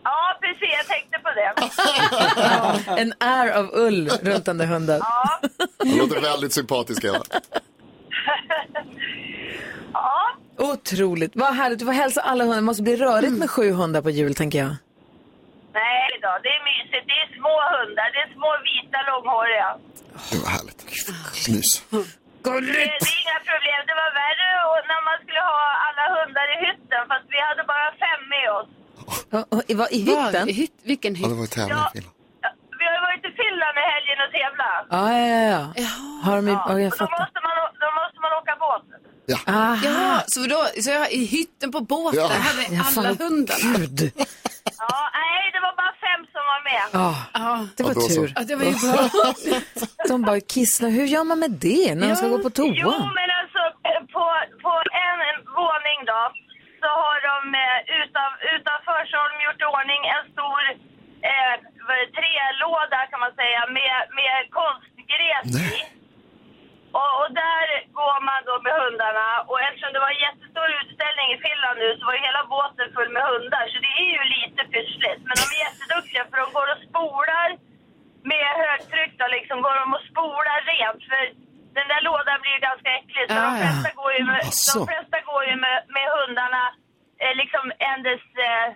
Speaker 21: Ja, precis. Jag tänkte på det.
Speaker 1: En är av ull runt den där hunden.
Speaker 4: Han låter väldigt sympatisk Eva.
Speaker 1: Otroligt. Vad härligt. Du får hälsa alla hundar. Det måste bli rörigt med sju hundar på jul, tänker jag.
Speaker 21: Nej idag. Det är mysigt. Det är små hundar. Det är små vita långhåriga.
Speaker 4: Det var härligt. Mys.
Speaker 21: Det, det är inga problem. Det var värre och- när man skulle ha alla hundar i hytten fast vi hade bara fem med oss.
Speaker 1: Och, och, i, vad, I hytten?
Speaker 3: vilken
Speaker 4: Ja, det var tävling. Ja.
Speaker 21: Vi har ju varit i Finland i helgen och tävlat.
Speaker 1: Ja, ja, ja. Har de, ja. jag fattar.
Speaker 21: Måste man, å- då måste man åka båt.
Speaker 1: Aha.
Speaker 3: Ja, så, då, så jag i hytten på båten
Speaker 1: Ja.
Speaker 3: hade
Speaker 1: Ja,
Speaker 3: alla
Speaker 1: fan,
Speaker 3: hundarna.
Speaker 1: Gud.
Speaker 21: Ja, nej, det var bara fem som var med.
Speaker 1: Ja, det var
Speaker 3: Ja, då så.
Speaker 1: tur.
Speaker 3: Ja, det var ju bra.
Speaker 1: de bara kisslar. Hur gör man med det när de ska gå på toa?
Speaker 21: Jo, men alltså på, på en våning då så har de eh, utav, utanför så har de gjort i ordning en stor eh, vad är det, trälåda kan man säga med, med konstgräs i. Och, och där går man då med hundarna och eftersom det var en jättestor utställning i Finland nu så var ju hela båten full med hundar så det är ju lite pyssligt. Men de är jätteduktiga för de går och spolar med högtryck då liksom går de och spolar rent för den där lådan blir ju ganska äcklig så
Speaker 1: Ah,
Speaker 21: de flesta går ju med,
Speaker 4: Asså.
Speaker 21: de flesta går ju med, med hundarna eh, liksom ändes eh,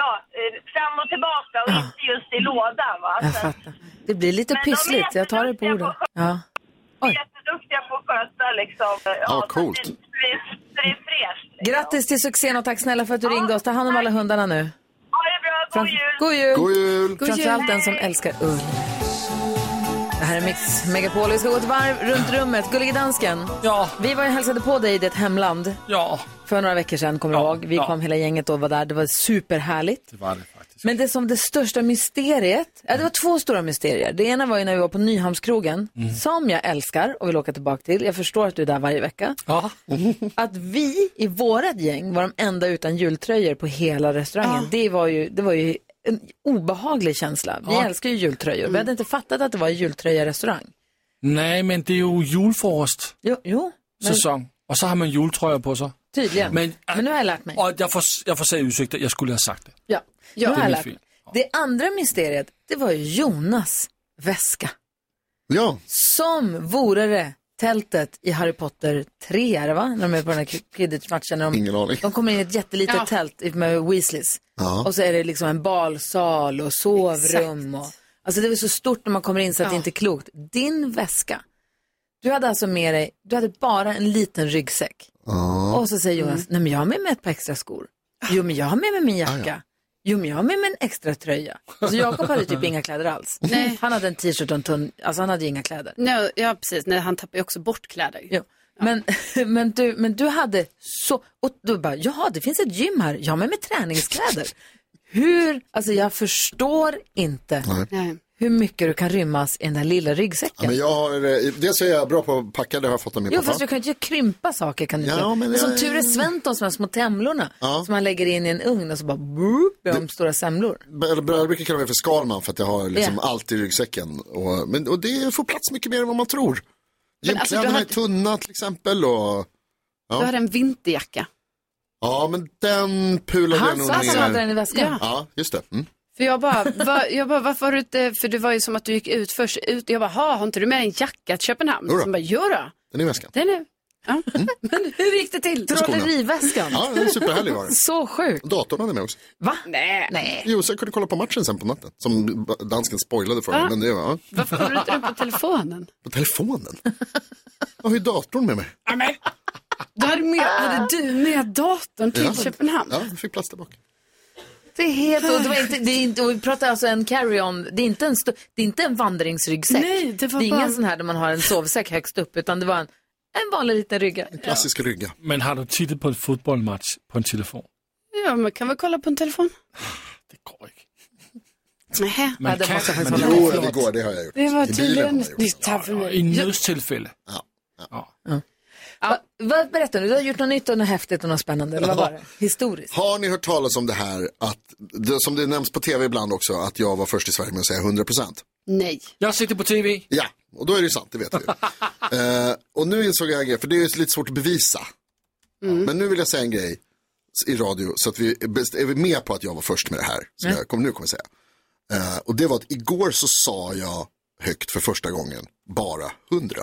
Speaker 21: ja, eh, fram och tillbaka och inte just i lådan va.
Speaker 1: Ah. Jag
Speaker 21: Så
Speaker 1: fattar. Det blir lite
Speaker 21: Men de är
Speaker 1: pyssligt. Jag tar det på orden. Ja.
Speaker 21: jätteduktiga på att sköta liksom. eh,
Speaker 1: Ja,
Speaker 21: så att
Speaker 1: coolt.
Speaker 21: det- det- Det är fräscht. liksom.
Speaker 1: Grattis till succén och tack snälla för att du ringde oss. Ta hand om alla hundarna nu.
Speaker 21: Ha det bra, god jul!
Speaker 1: God jul!
Speaker 4: God jul!
Speaker 1: Framförallt den som älskar ull. Det här är Mix Megapol. Vi ska gå ett varv runt rummet. Gullige dansken.
Speaker 9: Ja.
Speaker 1: Vi var ju och hälsade på dig i ditt hemland.
Speaker 9: Ja.
Speaker 1: För några veckor sedan, kommer du ihåg. Vi kom hela gänget och var där. Det var superhärligt.
Speaker 9: Det var det.
Speaker 1: Men det som det största mysteriet, ja, det var två stora mysterier. Det ena var ju när vi var på Nyhamnskrogen,
Speaker 9: Mm.
Speaker 1: som jag älskar och vill åka tillbaka till. Jag förstår att du är där varje vecka.
Speaker 9: Ja.
Speaker 1: Att vi i vårat gäng var de enda utan jultröjor på hela
Speaker 9: Ah.
Speaker 1: restaurangen. Det, var ju, det var ju en obehaglig känsla. Vi
Speaker 9: Ja. Mm.
Speaker 1: älskar ju jultröjor. Vi hade inte fattat att det var en jultröjarestaurang.
Speaker 9: Nej, men det är ju julfrokost.
Speaker 1: Jo, jo. men-
Speaker 9: Säsong. Och så har man jultröjor på sig.
Speaker 1: Tydligen.
Speaker 9: Men,
Speaker 1: Men nu har jag lärt mig.
Speaker 9: och jag får, jag får säga ursäkta, jag skulle ha sagt det.
Speaker 1: Ja,
Speaker 9: Ja. Det
Speaker 1: nu har
Speaker 9: är
Speaker 1: jag
Speaker 9: min
Speaker 1: lärt
Speaker 9: fel.
Speaker 1: mig. Det andra mysteriet, det var ju Jonas väska.
Speaker 4: Ja.
Speaker 1: Som vore det tältet i Harry Potter 3, är det va? När de är på den här quidditch-matchen. när
Speaker 4: Ingen
Speaker 1: De,
Speaker 4: aning.
Speaker 1: de kommer in i ett jättelitet
Speaker 4: Ja.
Speaker 1: tält med Weasleys.
Speaker 4: Ja.
Speaker 1: Och så är det liksom en balsal och sovrum. Och, alltså det var så stort när man kommer in så att det inte är klokt. Din väska, du hade alltså med dig, du hade bara en liten ryggsäck. Och så säger Jonas, nej men jag har med mig ett par extra skor. Jo men jag har med mig min jacka. Jo men jag har med mig en extra tröja. Så Jakob hade typ inga kläder alls.
Speaker 3: Nej.
Speaker 1: Han hade en t-shirt och en tunn, alltså han hade ju inga kläder.
Speaker 3: Nej, ja, precis. Nej, han tappar ju också bort kläder.
Speaker 1: Jo. Men, men, du, men du hade så, och du bara, jaha det finns ett gym här, jag har med mig träningskläder. Hur, alltså jag förstår inte hur mycket du kan rymmas i den där lilla ryggsäcken.
Speaker 4: Ja, men jag har, eh, dels är jag bra på att packa, det har jag fått av min
Speaker 1: Jo,
Speaker 4: pappa.
Speaker 1: fast du kan ju inte krympa saker. Kan du
Speaker 4: Ja,
Speaker 1: inte.
Speaker 4: men det-
Speaker 1: Som Ture Sventon, som har små temlorna som han lägger in i en ugn och så bara boop, blir de stora semlor.
Speaker 4: Eller bröder brukar kalla mig för Skalman för att jag har liksom
Speaker 1: Ja.
Speaker 4: allt i ryggsäcken. Och, men, och det får plats mycket mer än vad man tror.
Speaker 3: Men alltså,
Speaker 4: Gymkläderna
Speaker 3: du har
Speaker 4: är tunna till exempel. Och,
Speaker 3: Du hade
Speaker 4: ja.
Speaker 3: en vinterjacka.
Speaker 4: ja, men den pulade
Speaker 3: Han
Speaker 4: jag nog
Speaker 3: sa att han
Speaker 4: ner.
Speaker 3: alltså hade den i väskan.
Speaker 4: Ja, just det. Mm.
Speaker 3: För jag bara, va, jag bara, varför har du inte, för det var ju som att du gick ut först, ut, jag bara, "Ha, har inte du med en jacka till Köpenhamn?
Speaker 4: Jodå. Mm.
Speaker 3: Så bara, jodå,
Speaker 4: Den är i väskan.
Speaker 3: den är, ja. Men hur gick det till?
Speaker 4: Skorna.
Speaker 1: Trolleriväskan.
Speaker 4: Ja, den är superhärlig var den.
Speaker 1: Så sjukt.
Speaker 4: Datorn hade jag med också.
Speaker 1: Va?
Speaker 3: Nej.
Speaker 1: Nej.
Speaker 4: Jo, så jag kunde kolla på matchen sen på natten. Som dansken spoilade för mig.
Speaker 3: Ah.
Speaker 4: Men det var, ja.
Speaker 3: Varför har du inte den på telefonen?
Speaker 4: På telefonen. Jag har ju datorn med mig.
Speaker 3: Du hade, med, hade du med datorn till
Speaker 4: Ah. Ja.
Speaker 3: Köpenhamn?
Speaker 4: Ja, fick plats där bak.
Speaker 1: Det är helt, och det var inte, det är inte, och vi pratar alltså en carry-on, det är inte en, sto- det är inte en vandringsryggsäck.
Speaker 3: Nej, det var
Speaker 1: är
Speaker 3: bara-
Speaker 1: ingen sån här där man har en sovsäck högst upp, utan det var en, en vanlig liten rygga.
Speaker 4: Klassisk rygga.
Speaker 9: Men har du tittat på en fotbollsmatch på en telefon?
Speaker 3: Ja, man kan väl kolla på en telefon? Det går inte. Nej,
Speaker 9: Man
Speaker 3: ja, det
Speaker 9: kan-
Speaker 3: måste jag
Speaker 9: men
Speaker 3: faktiskt
Speaker 9: jo,
Speaker 3: hålla med.
Speaker 9: det
Speaker 3: Förlåt.
Speaker 9: går, det har jag gjort.
Speaker 3: Det
Speaker 9: I
Speaker 3: var
Speaker 9: bilen
Speaker 3: tydligen
Speaker 9: har jag gjort.
Speaker 3: nytt här för
Speaker 9: I
Speaker 3: mig.
Speaker 9: nödtillfälle.
Speaker 1: Va, vad berättar du? Du har gjort något nytt och något häftigt och något spännande, eller vad var det? Historiskt.
Speaker 4: Har ni hört talas om det här att, det, som det nämns på tv ibland också, att jag var först i Sverige med att säga 100 procent?
Speaker 3: Nej.
Speaker 9: Jag sitter på tv.
Speaker 4: Ja, och då är det ju sant, det vet vi. eh, och nu insåg jag en grej, för det är ju lite svårt att bevisa. Men nu vill jag säga en grej i radio, så att vi är vi med på att jag var först med det här, som
Speaker 22: Mm.
Speaker 4: jag kommer, nu kommer säga. Eh, och det var att igår så sa jag högt för första gången, bara 100.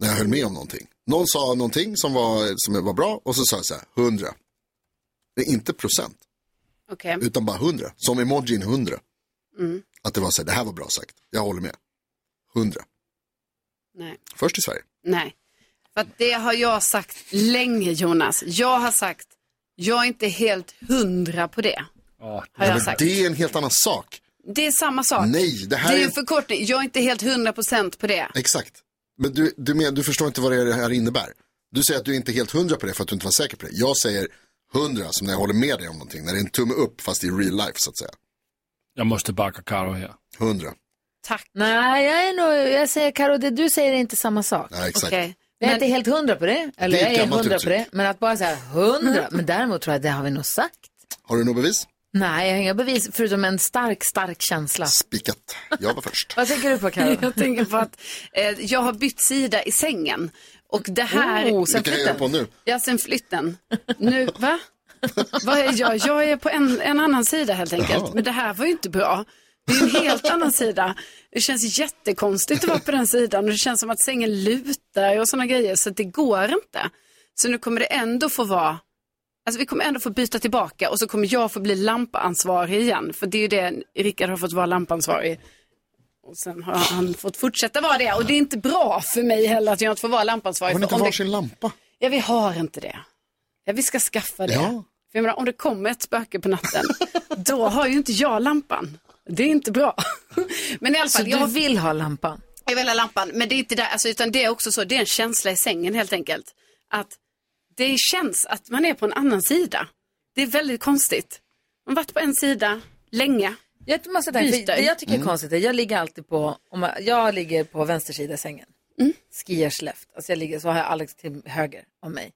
Speaker 4: När jag höll med om någonting. Någon sa någonting som var, som var bra och så sa jag så här, 100. Det är inte procent.
Speaker 3: Okej.
Speaker 4: Utan bara 100. Som emojin 100.
Speaker 3: Mm.
Speaker 4: Att det var så här, det här var bra sagt. Jag håller med. 100.
Speaker 3: Nej.
Speaker 4: Först i Sverige.
Speaker 3: Nej. För att det har jag sagt länge, Jonas. Jag har sagt, jag är inte helt hundra på det. Har jag
Speaker 4: Men
Speaker 3: sagt.
Speaker 4: Det är en helt annan sak.
Speaker 3: Det är samma sak.
Speaker 4: Nej, det här
Speaker 3: det är
Speaker 4: är-
Speaker 3: ju en förkortning. Jag är inte helt hundra procent på det.
Speaker 4: Exakt. Men du, du, men, du förstår inte vad det här innebär. Du säger att du inte är helt hundra på det för att du inte var säker på det. Jag säger hundra som när jag håller med dig om någonting. När det är en tumme upp fast i real life så att säga.
Speaker 23: Jag måste backa Karo här.
Speaker 4: Hundra.
Speaker 3: Tack.
Speaker 1: Nej, jag, är nog, jag säger Karo, det du säger är inte samma sak.
Speaker 4: Nej, exakt.
Speaker 1: Okej. Jag är
Speaker 4: Men-
Speaker 1: inte helt hundra på det, eller
Speaker 4: Det är
Speaker 1: jag
Speaker 4: ett
Speaker 1: är
Speaker 4: gammalt
Speaker 1: hundra på det,
Speaker 4: uttryck.
Speaker 1: men att bara säga hundra, men däremot tror jag att det har vi nog sagt.
Speaker 4: Har du något bevis?
Speaker 1: Nej, jag har inga bevis förutom en stark, stark känsla.
Speaker 4: Spikat. Jag var först.
Speaker 1: Vad tänker du på Karo?
Speaker 3: Jag tänker på att eh, jag har bytt sida i sängen. Och det här...
Speaker 4: Oh, vilken är du på nu?
Speaker 3: Ja, sen flytten. Nu, va? Vad är jag? Jag är på en, en annan sida helt enkelt. Men det här var ju inte bra. Det är ju en helt annan sida. Det känns jättekonstigt att vara på den sidan och det känns som att sängen lutar och sådana grejer. Så att det går inte. Så nu kommer det ändå få vara Alltså vi kommer ändå få byta tillbaka och så kommer jag få bli lampansvarig igen. För det är ju det, Rickard har fått vara lampansvarig. Och sen har han fått fortsätta vara det. Och det är inte bra för mig heller att jag inte får vara lampansvarig.
Speaker 4: Har ni
Speaker 3: För
Speaker 4: inte
Speaker 3: om det-
Speaker 4: varsin lampa?
Speaker 3: Ja, vi har inte det. Ja, vi ska skaffa det.
Speaker 4: Ja.
Speaker 3: För jag menar, om det kommer ett spöke på natten, då har ju inte jag lampan. Det är inte bra. Men i alla
Speaker 1: Så
Speaker 3: fall,
Speaker 1: du
Speaker 3: jag har
Speaker 1: vill ha lampan?
Speaker 3: jag vill ha lampan, men det är inte där, alltså, utan det är också så, det är en känsla i sängen helt enkelt. Att det känns att man är på en annan sida. Det är väldigt konstigt. Man har varit på en sida länge.
Speaker 1: Jag måste tänka, för det jag tycker
Speaker 4: Mm.
Speaker 1: är konstigt är, jag ligger alltid på, om jag, jag ligger på vänster sida i sängen. Mm. Skiers left. Alltså jag ligger, så har jag Alex till höger om mig.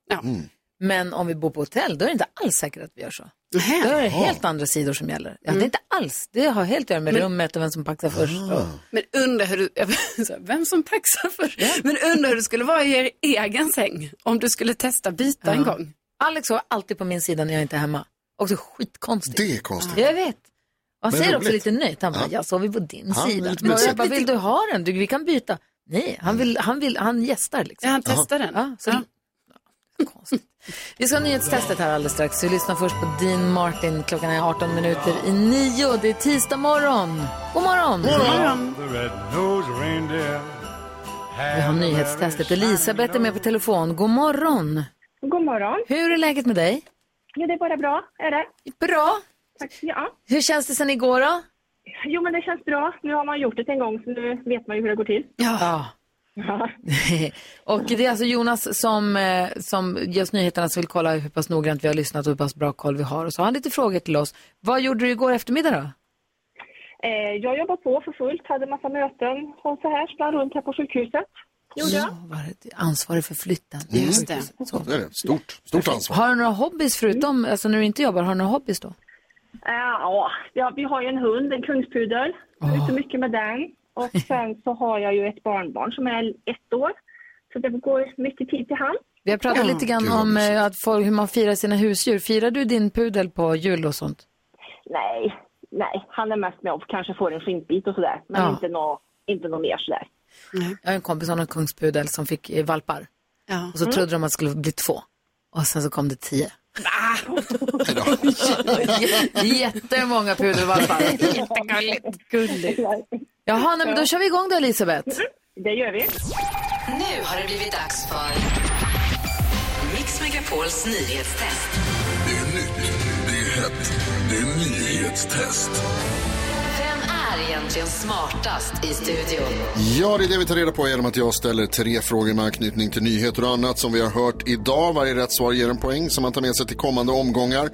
Speaker 1: Men om vi bor på hotell, då är det inte alls säkert att vi gör så. Då är det helt andra sidor som gäller. Ja, Det är inte alls, det har helt att göra med
Speaker 3: Men-
Speaker 1: rummet och vem som paxar först.
Speaker 4: Ah.
Speaker 1: Och...
Speaker 3: Men undrar hur du, så här, vem som paxar för Men undrar hur det skulle vara i er egen säng om du skulle testa byta en gång.
Speaker 1: Alex var alltid på min sida när jag inte är hemma. Också skitkonstigt.
Speaker 4: Det är konstigt.
Speaker 1: Jag vet. Och han
Speaker 4: Men
Speaker 1: säger
Speaker 4: roligt.
Speaker 1: också lite nöjt. Han bara,
Speaker 4: Ja.
Speaker 1: jag sover på din
Speaker 4: Ja,
Speaker 1: sida.
Speaker 4: lite
Speaker 1: Men jag
Speaker 4: mysigt.
Speaker 1: bara, vill du ha den? Du, vi kan byta. Nej, han vill, han vill, han gästar liksom.
Speaker 3: Ja, han testar den.
Speaker 1: Ja, så, ja. Konstigt. Vi ska ha nyhetstestet här alldeles strax. Vi lyssnar först på Dean Martin. Klockan är 18 minuter i nio. Det är tisdag morgon. God morgon. Vi har nyhetstestet. Elisabeth är med på telefon. God morgon.
Speaker 18: God morgon.
Speaker 1: Hur är läget med dig?
Speaker 18: Ja, det är bara bra. Är det?
Speaker 1: Bra.
Speaker 18: Tack. Ja.
Speaker 1: Hur känns det sen igår då?
Speaker 18: Jo, men det känns bra. Nu har man gjort det en gång, så nu vet man ju hur det går till.
Speaker 1: Ja. och det är alltså Jonas som, eh, som ger oss nyheterna som vill kolla hur pass noggrant vi har lyssnat och hur pass bra koll vi har. Och så har han lite frågor till oss. Vad gjorde du igår eftermiddag då?
Speaker 18: Eh, jag jobbar på för fullt, hade massa möten och så här, sprang runt här på sjukhuset. Gjorde jag.
Speaker 1: Ansvarig för flytten.
Speaker 4: Just det. Det är det. Stort, stort ansvar.
Speaker 1: Har du några hobbys förutom, alltså när du inte jobbar, har du några hobbys då?
Speaker 18: Eh, ja, ja, vi har ju en hund, en kungspudel. Jag är ute mycket med den. Och sen så har jag ju ett barnbarn som är ett år. Så det går mycket tid till han.
Speaker 1: Vi har pratat lite grann om eh, att folk, hur man firar sina husdjur. Firar du din pudel på jul och sånt?
Speaker 18: Nej, nej. Han är mest med och kanske får en skinkbit och sådär. Men
Speaker 1: Ja.
Speaker 18: inte något inte nå mer sådär.
Speaker 1: Jag har en kompis som har en kungspudel som fick eh, valpar.
Speaker 3: Ja.
Speaker 1: Och så trodde de att det skulle bli två. Och sen så kom det tio. Jättemånga pudelvalpar. Jättegulligt. Gulligt. Jaha, nej, men då kör vi igång då Elisabeth.
Speaker 18: Det gör vi.
Speaker 2: Nu har det blivit dags för Mix Megapols nyhetstest.
Speaker 24: Det är nytt, det är hett, det är nyhetstest.
Speaker 2: Vem är egentligen smartast i studion?
Speaker 4: Ja, det är det vi tar reda på genom att jag ställer tre frågor med anknytning till nyheter och annat som vi har hört idag. Varje rätt svar ger en poäng som man tar med sig till kommande omgångar.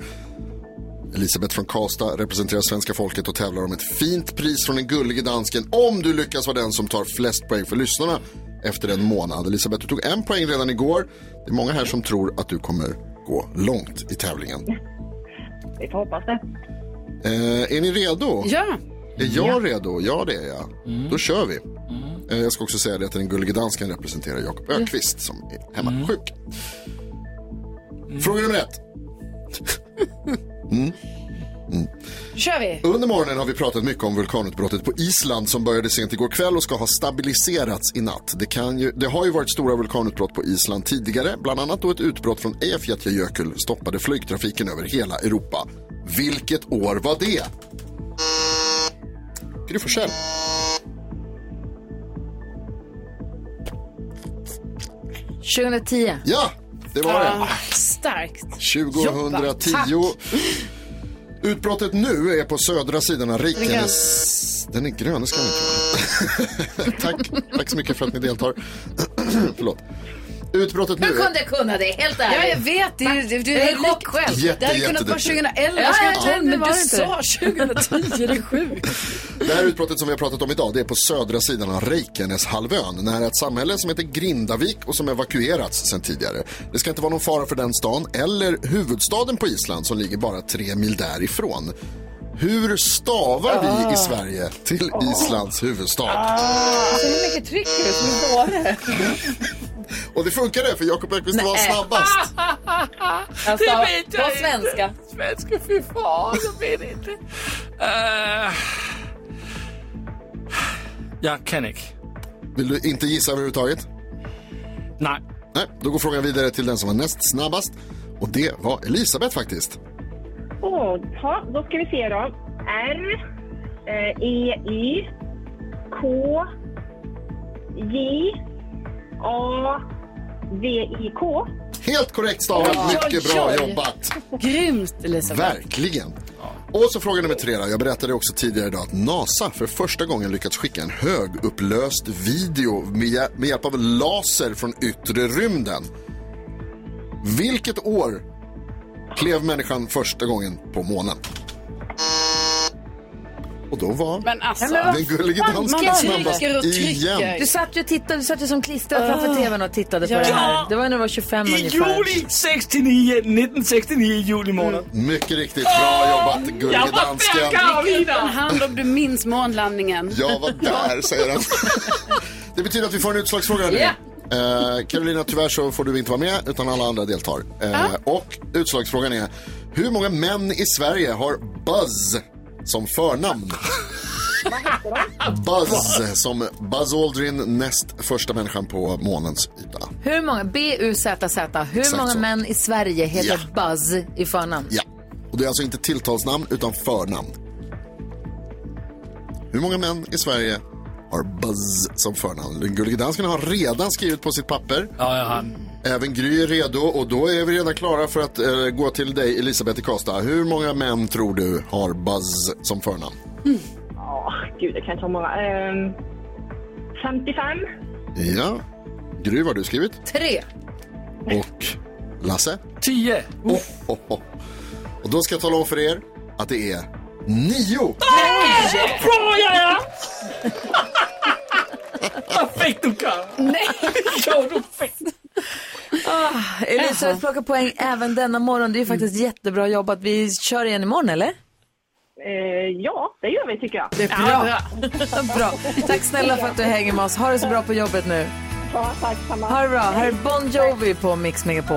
Speaker 4: Elisabeth från Karlstad representerar svenska folket och tävlar om ett fint pris från den gullige dansken om du lyckas vara den som tar flest poäng för lyssnarna efter en månad. Elisabeth, du tog en poäng redan igår. Det är många här som tror att du kommer gå långt i tävlingen.
Speaker 18: Vi får hoppas det.
Speaker 4: Eh, är ni redo?
Speaker 3: Ja. Mm.
Speaker 4: Är jag redo? Ja, det är jag. Då kör vi. Eh, jag ska också säga det att den gullige dansken representerar Jakob Ökvist som är hemmasjuk. Fråga nummer ett. mm.
Speaker 3: kör vi.
Speaker 4: Under morgonen har vi pratat mycket om vulkanutbrottet på Island som började sent igår kväll och ska ha stabiliserats i natt. Det, kan ju, det har ju varit stora vulkanutbrott på Island tidigare, bland annat då ett utbrott från Eyjafjallajökull stoppade flygtrafiken över hela Europa. Vilket år var det? Gry Forssell.
Speaker 1: Sju. 2010.
Speaker 4: Ja, det var det.
Speaker 3: Ah, Starkt.
Speaker 4: 2010.
Speaker 3: Jobbat.
Speaker 4: Utbrottet nu är på södra sidan av
Speaker 3: Vilken?
Speaker 4: Rikenes... Den är grön, ska jag inte Tack. Tack så mycket för att ni deltar. Förlåt. Utbrottet nu...
Speaker 1: Hur
Speaker 4: är-
Speaker 1: kunde jag kunna det? Helt ärligt.
Speaker 3: Ja, jag vet. Det är, ju- du är
Speaker 1: Jätte,
Speaker 3: chock själv. det hade kunnat vara
Speaker 4: jätteduktig.
Speaker 3: 2011,
Speaker 1: Ja, ja,
Speaker 3: 2012,
Speaker 1: men
Speaker 3: men
Speaker 1: var
Speaker 3: du
Speaker 1: det inte
Speaker 3: sa 2010. Det är sjukt.
Speaker 4: Det här utbrottet som vi har pratat om idag det är på södra sidan av Reikeneshalvön nära ett samhälle som heter Grindavik och som evakuerats sedan tidigare. Det ska inte vara någon fara för den stan eller huvudstaden på Island som ligger bara tre mil därifrån. Hur stavar
Speaker 1: Ah.
Speaker 4: vi i Sverige till Islands huvudstad?
Speaker 1: Alltså, hur mycket tryck är det som är dåre?
Speaker 4: Och det funkade för Jakob Ekqvist var snabbast.
Speaker 1: Alltså,
Speaker 25: Det vet jag
Speaker 1: på
Speaker 25: inte.
Speaker 1: svenska.
Speaker 9: Svenska, fy fan. Jag vet inte. Eh, jag kan inte.
Speaker 4: Vill du inte gissa överhuvudtaget?
Speaker 9: Nej.
Speaker 4: Nej, då går frågan vidare till den som var näst snabbast. Och det var Elisabeth faktiskt.
Speaker 18: Åh, ja, då ska vi se då. R, eh, E, Y, K, J, A, V, I, K.
Speaker 4: Helt korrekt stavat.
Speaker 18: Oj,
Speaker 4: Mycket
Speaker 18: oj,
Speaker 4: bra
Speaker 18: oj.
Speaker 4: jobbat.
Speaker 3: Grymt, Elisabeth.
Speaker 4: Verkligen. Och så fråga nummer tre. Då. Jag berättade också tidigare idag att NASA för första gången lyckats skicka en högupplöst video med, hjä- med hjälp av laser från yttre rymden. Vilket år klev människan första gången på månen? Och då var
Speaker 3: Men alltså,
Speaker 4: den gullige dansken snabbast igen.
Speaker 1: Du satt ju och tittade, du satt ju som klistrad framför
Speaker 9: Ah.
Speaker 1: tvn och tittade på
Speaker 9: Ja.
Speaker 1: det här. Det var när du var 25
Speaker 9: I
Speaker 1: ungefär.
Speaker 9: juli 69, 1969 i juli månad.
Speaker 4: Mycket riktigt. Bra jobbat, gullige
Speaker 3: jag var
Speaker 4: dansken.
Speaker 3: Räck upp en hand om du minns månlandningen.
Speaker 4: Jag var där, säger han. Det betyder att vi får en utslagsfråga nu.
Speaker 3: Ja.
Speaker 4: Eh, Carolina, tyvärr så får du inte vara med, utan alla andra deltar. Eh, Och utslagsfrågan är, hur många män i Sverige har Buzz som förnamn? Buzz, som Buzz Aldrin, näst första människan på månens yta.
Speaker 1: Hur många, B-U-Z-Z, hur
Speaker 4: Exakt
Speaker 1: många
Speaker 4: så.
Speaker 1: män i Sverige heter Buzz i förnamn?
Speaker 4: Ja, och det är alltså inte tilltalsnamn, utan förnamn. Hur många män i Sverige har Buzz som förnamn? Den gullige dansken har redan skrivit på sitt papper.
Speaker 9: Ja, jag har.
Speaker 4: Även Gry är redo och då är vi redan klara för att eh, gå till dig Elisabeth i Karlstad. Hur många män tror du har Buzz som förnamn?
Speaker 18: Ja, gud, det kan ta många. Ehm, 55.
Speaker 4: Ja, Gry vad har du skrivit?
Speaker 1: Tre.
Speaker 4: Och Lasse?
Speaker 9: Tio.
Speaker 4: Oh, oh, oh. Och då ska jag tala om för er att det är nio.
Speaker 25: Nej! Bra jag är! Vad fick du Karin?
Speaker 1: Nej.
Speaker 25: Jo, du fick.
Speaker 1: Ah, Elisabeth plockar poäng även denna morgon. Det är ju faktiskt jättebra jobbat. Vi kör igen imorgon, eller?
Speaker 18: Eh, ja, det gör vi tycker jag.
Speaker 1: Det är bra. bra. Tack snälla för att du hänger med oss. Ha det så bra på jobbet nu.
Speaker 18: Ja, tack samma.
Speaker 1: Ha det bra. Här är Bon Jovi på Mix Megapol.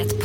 Speaker 26: Ett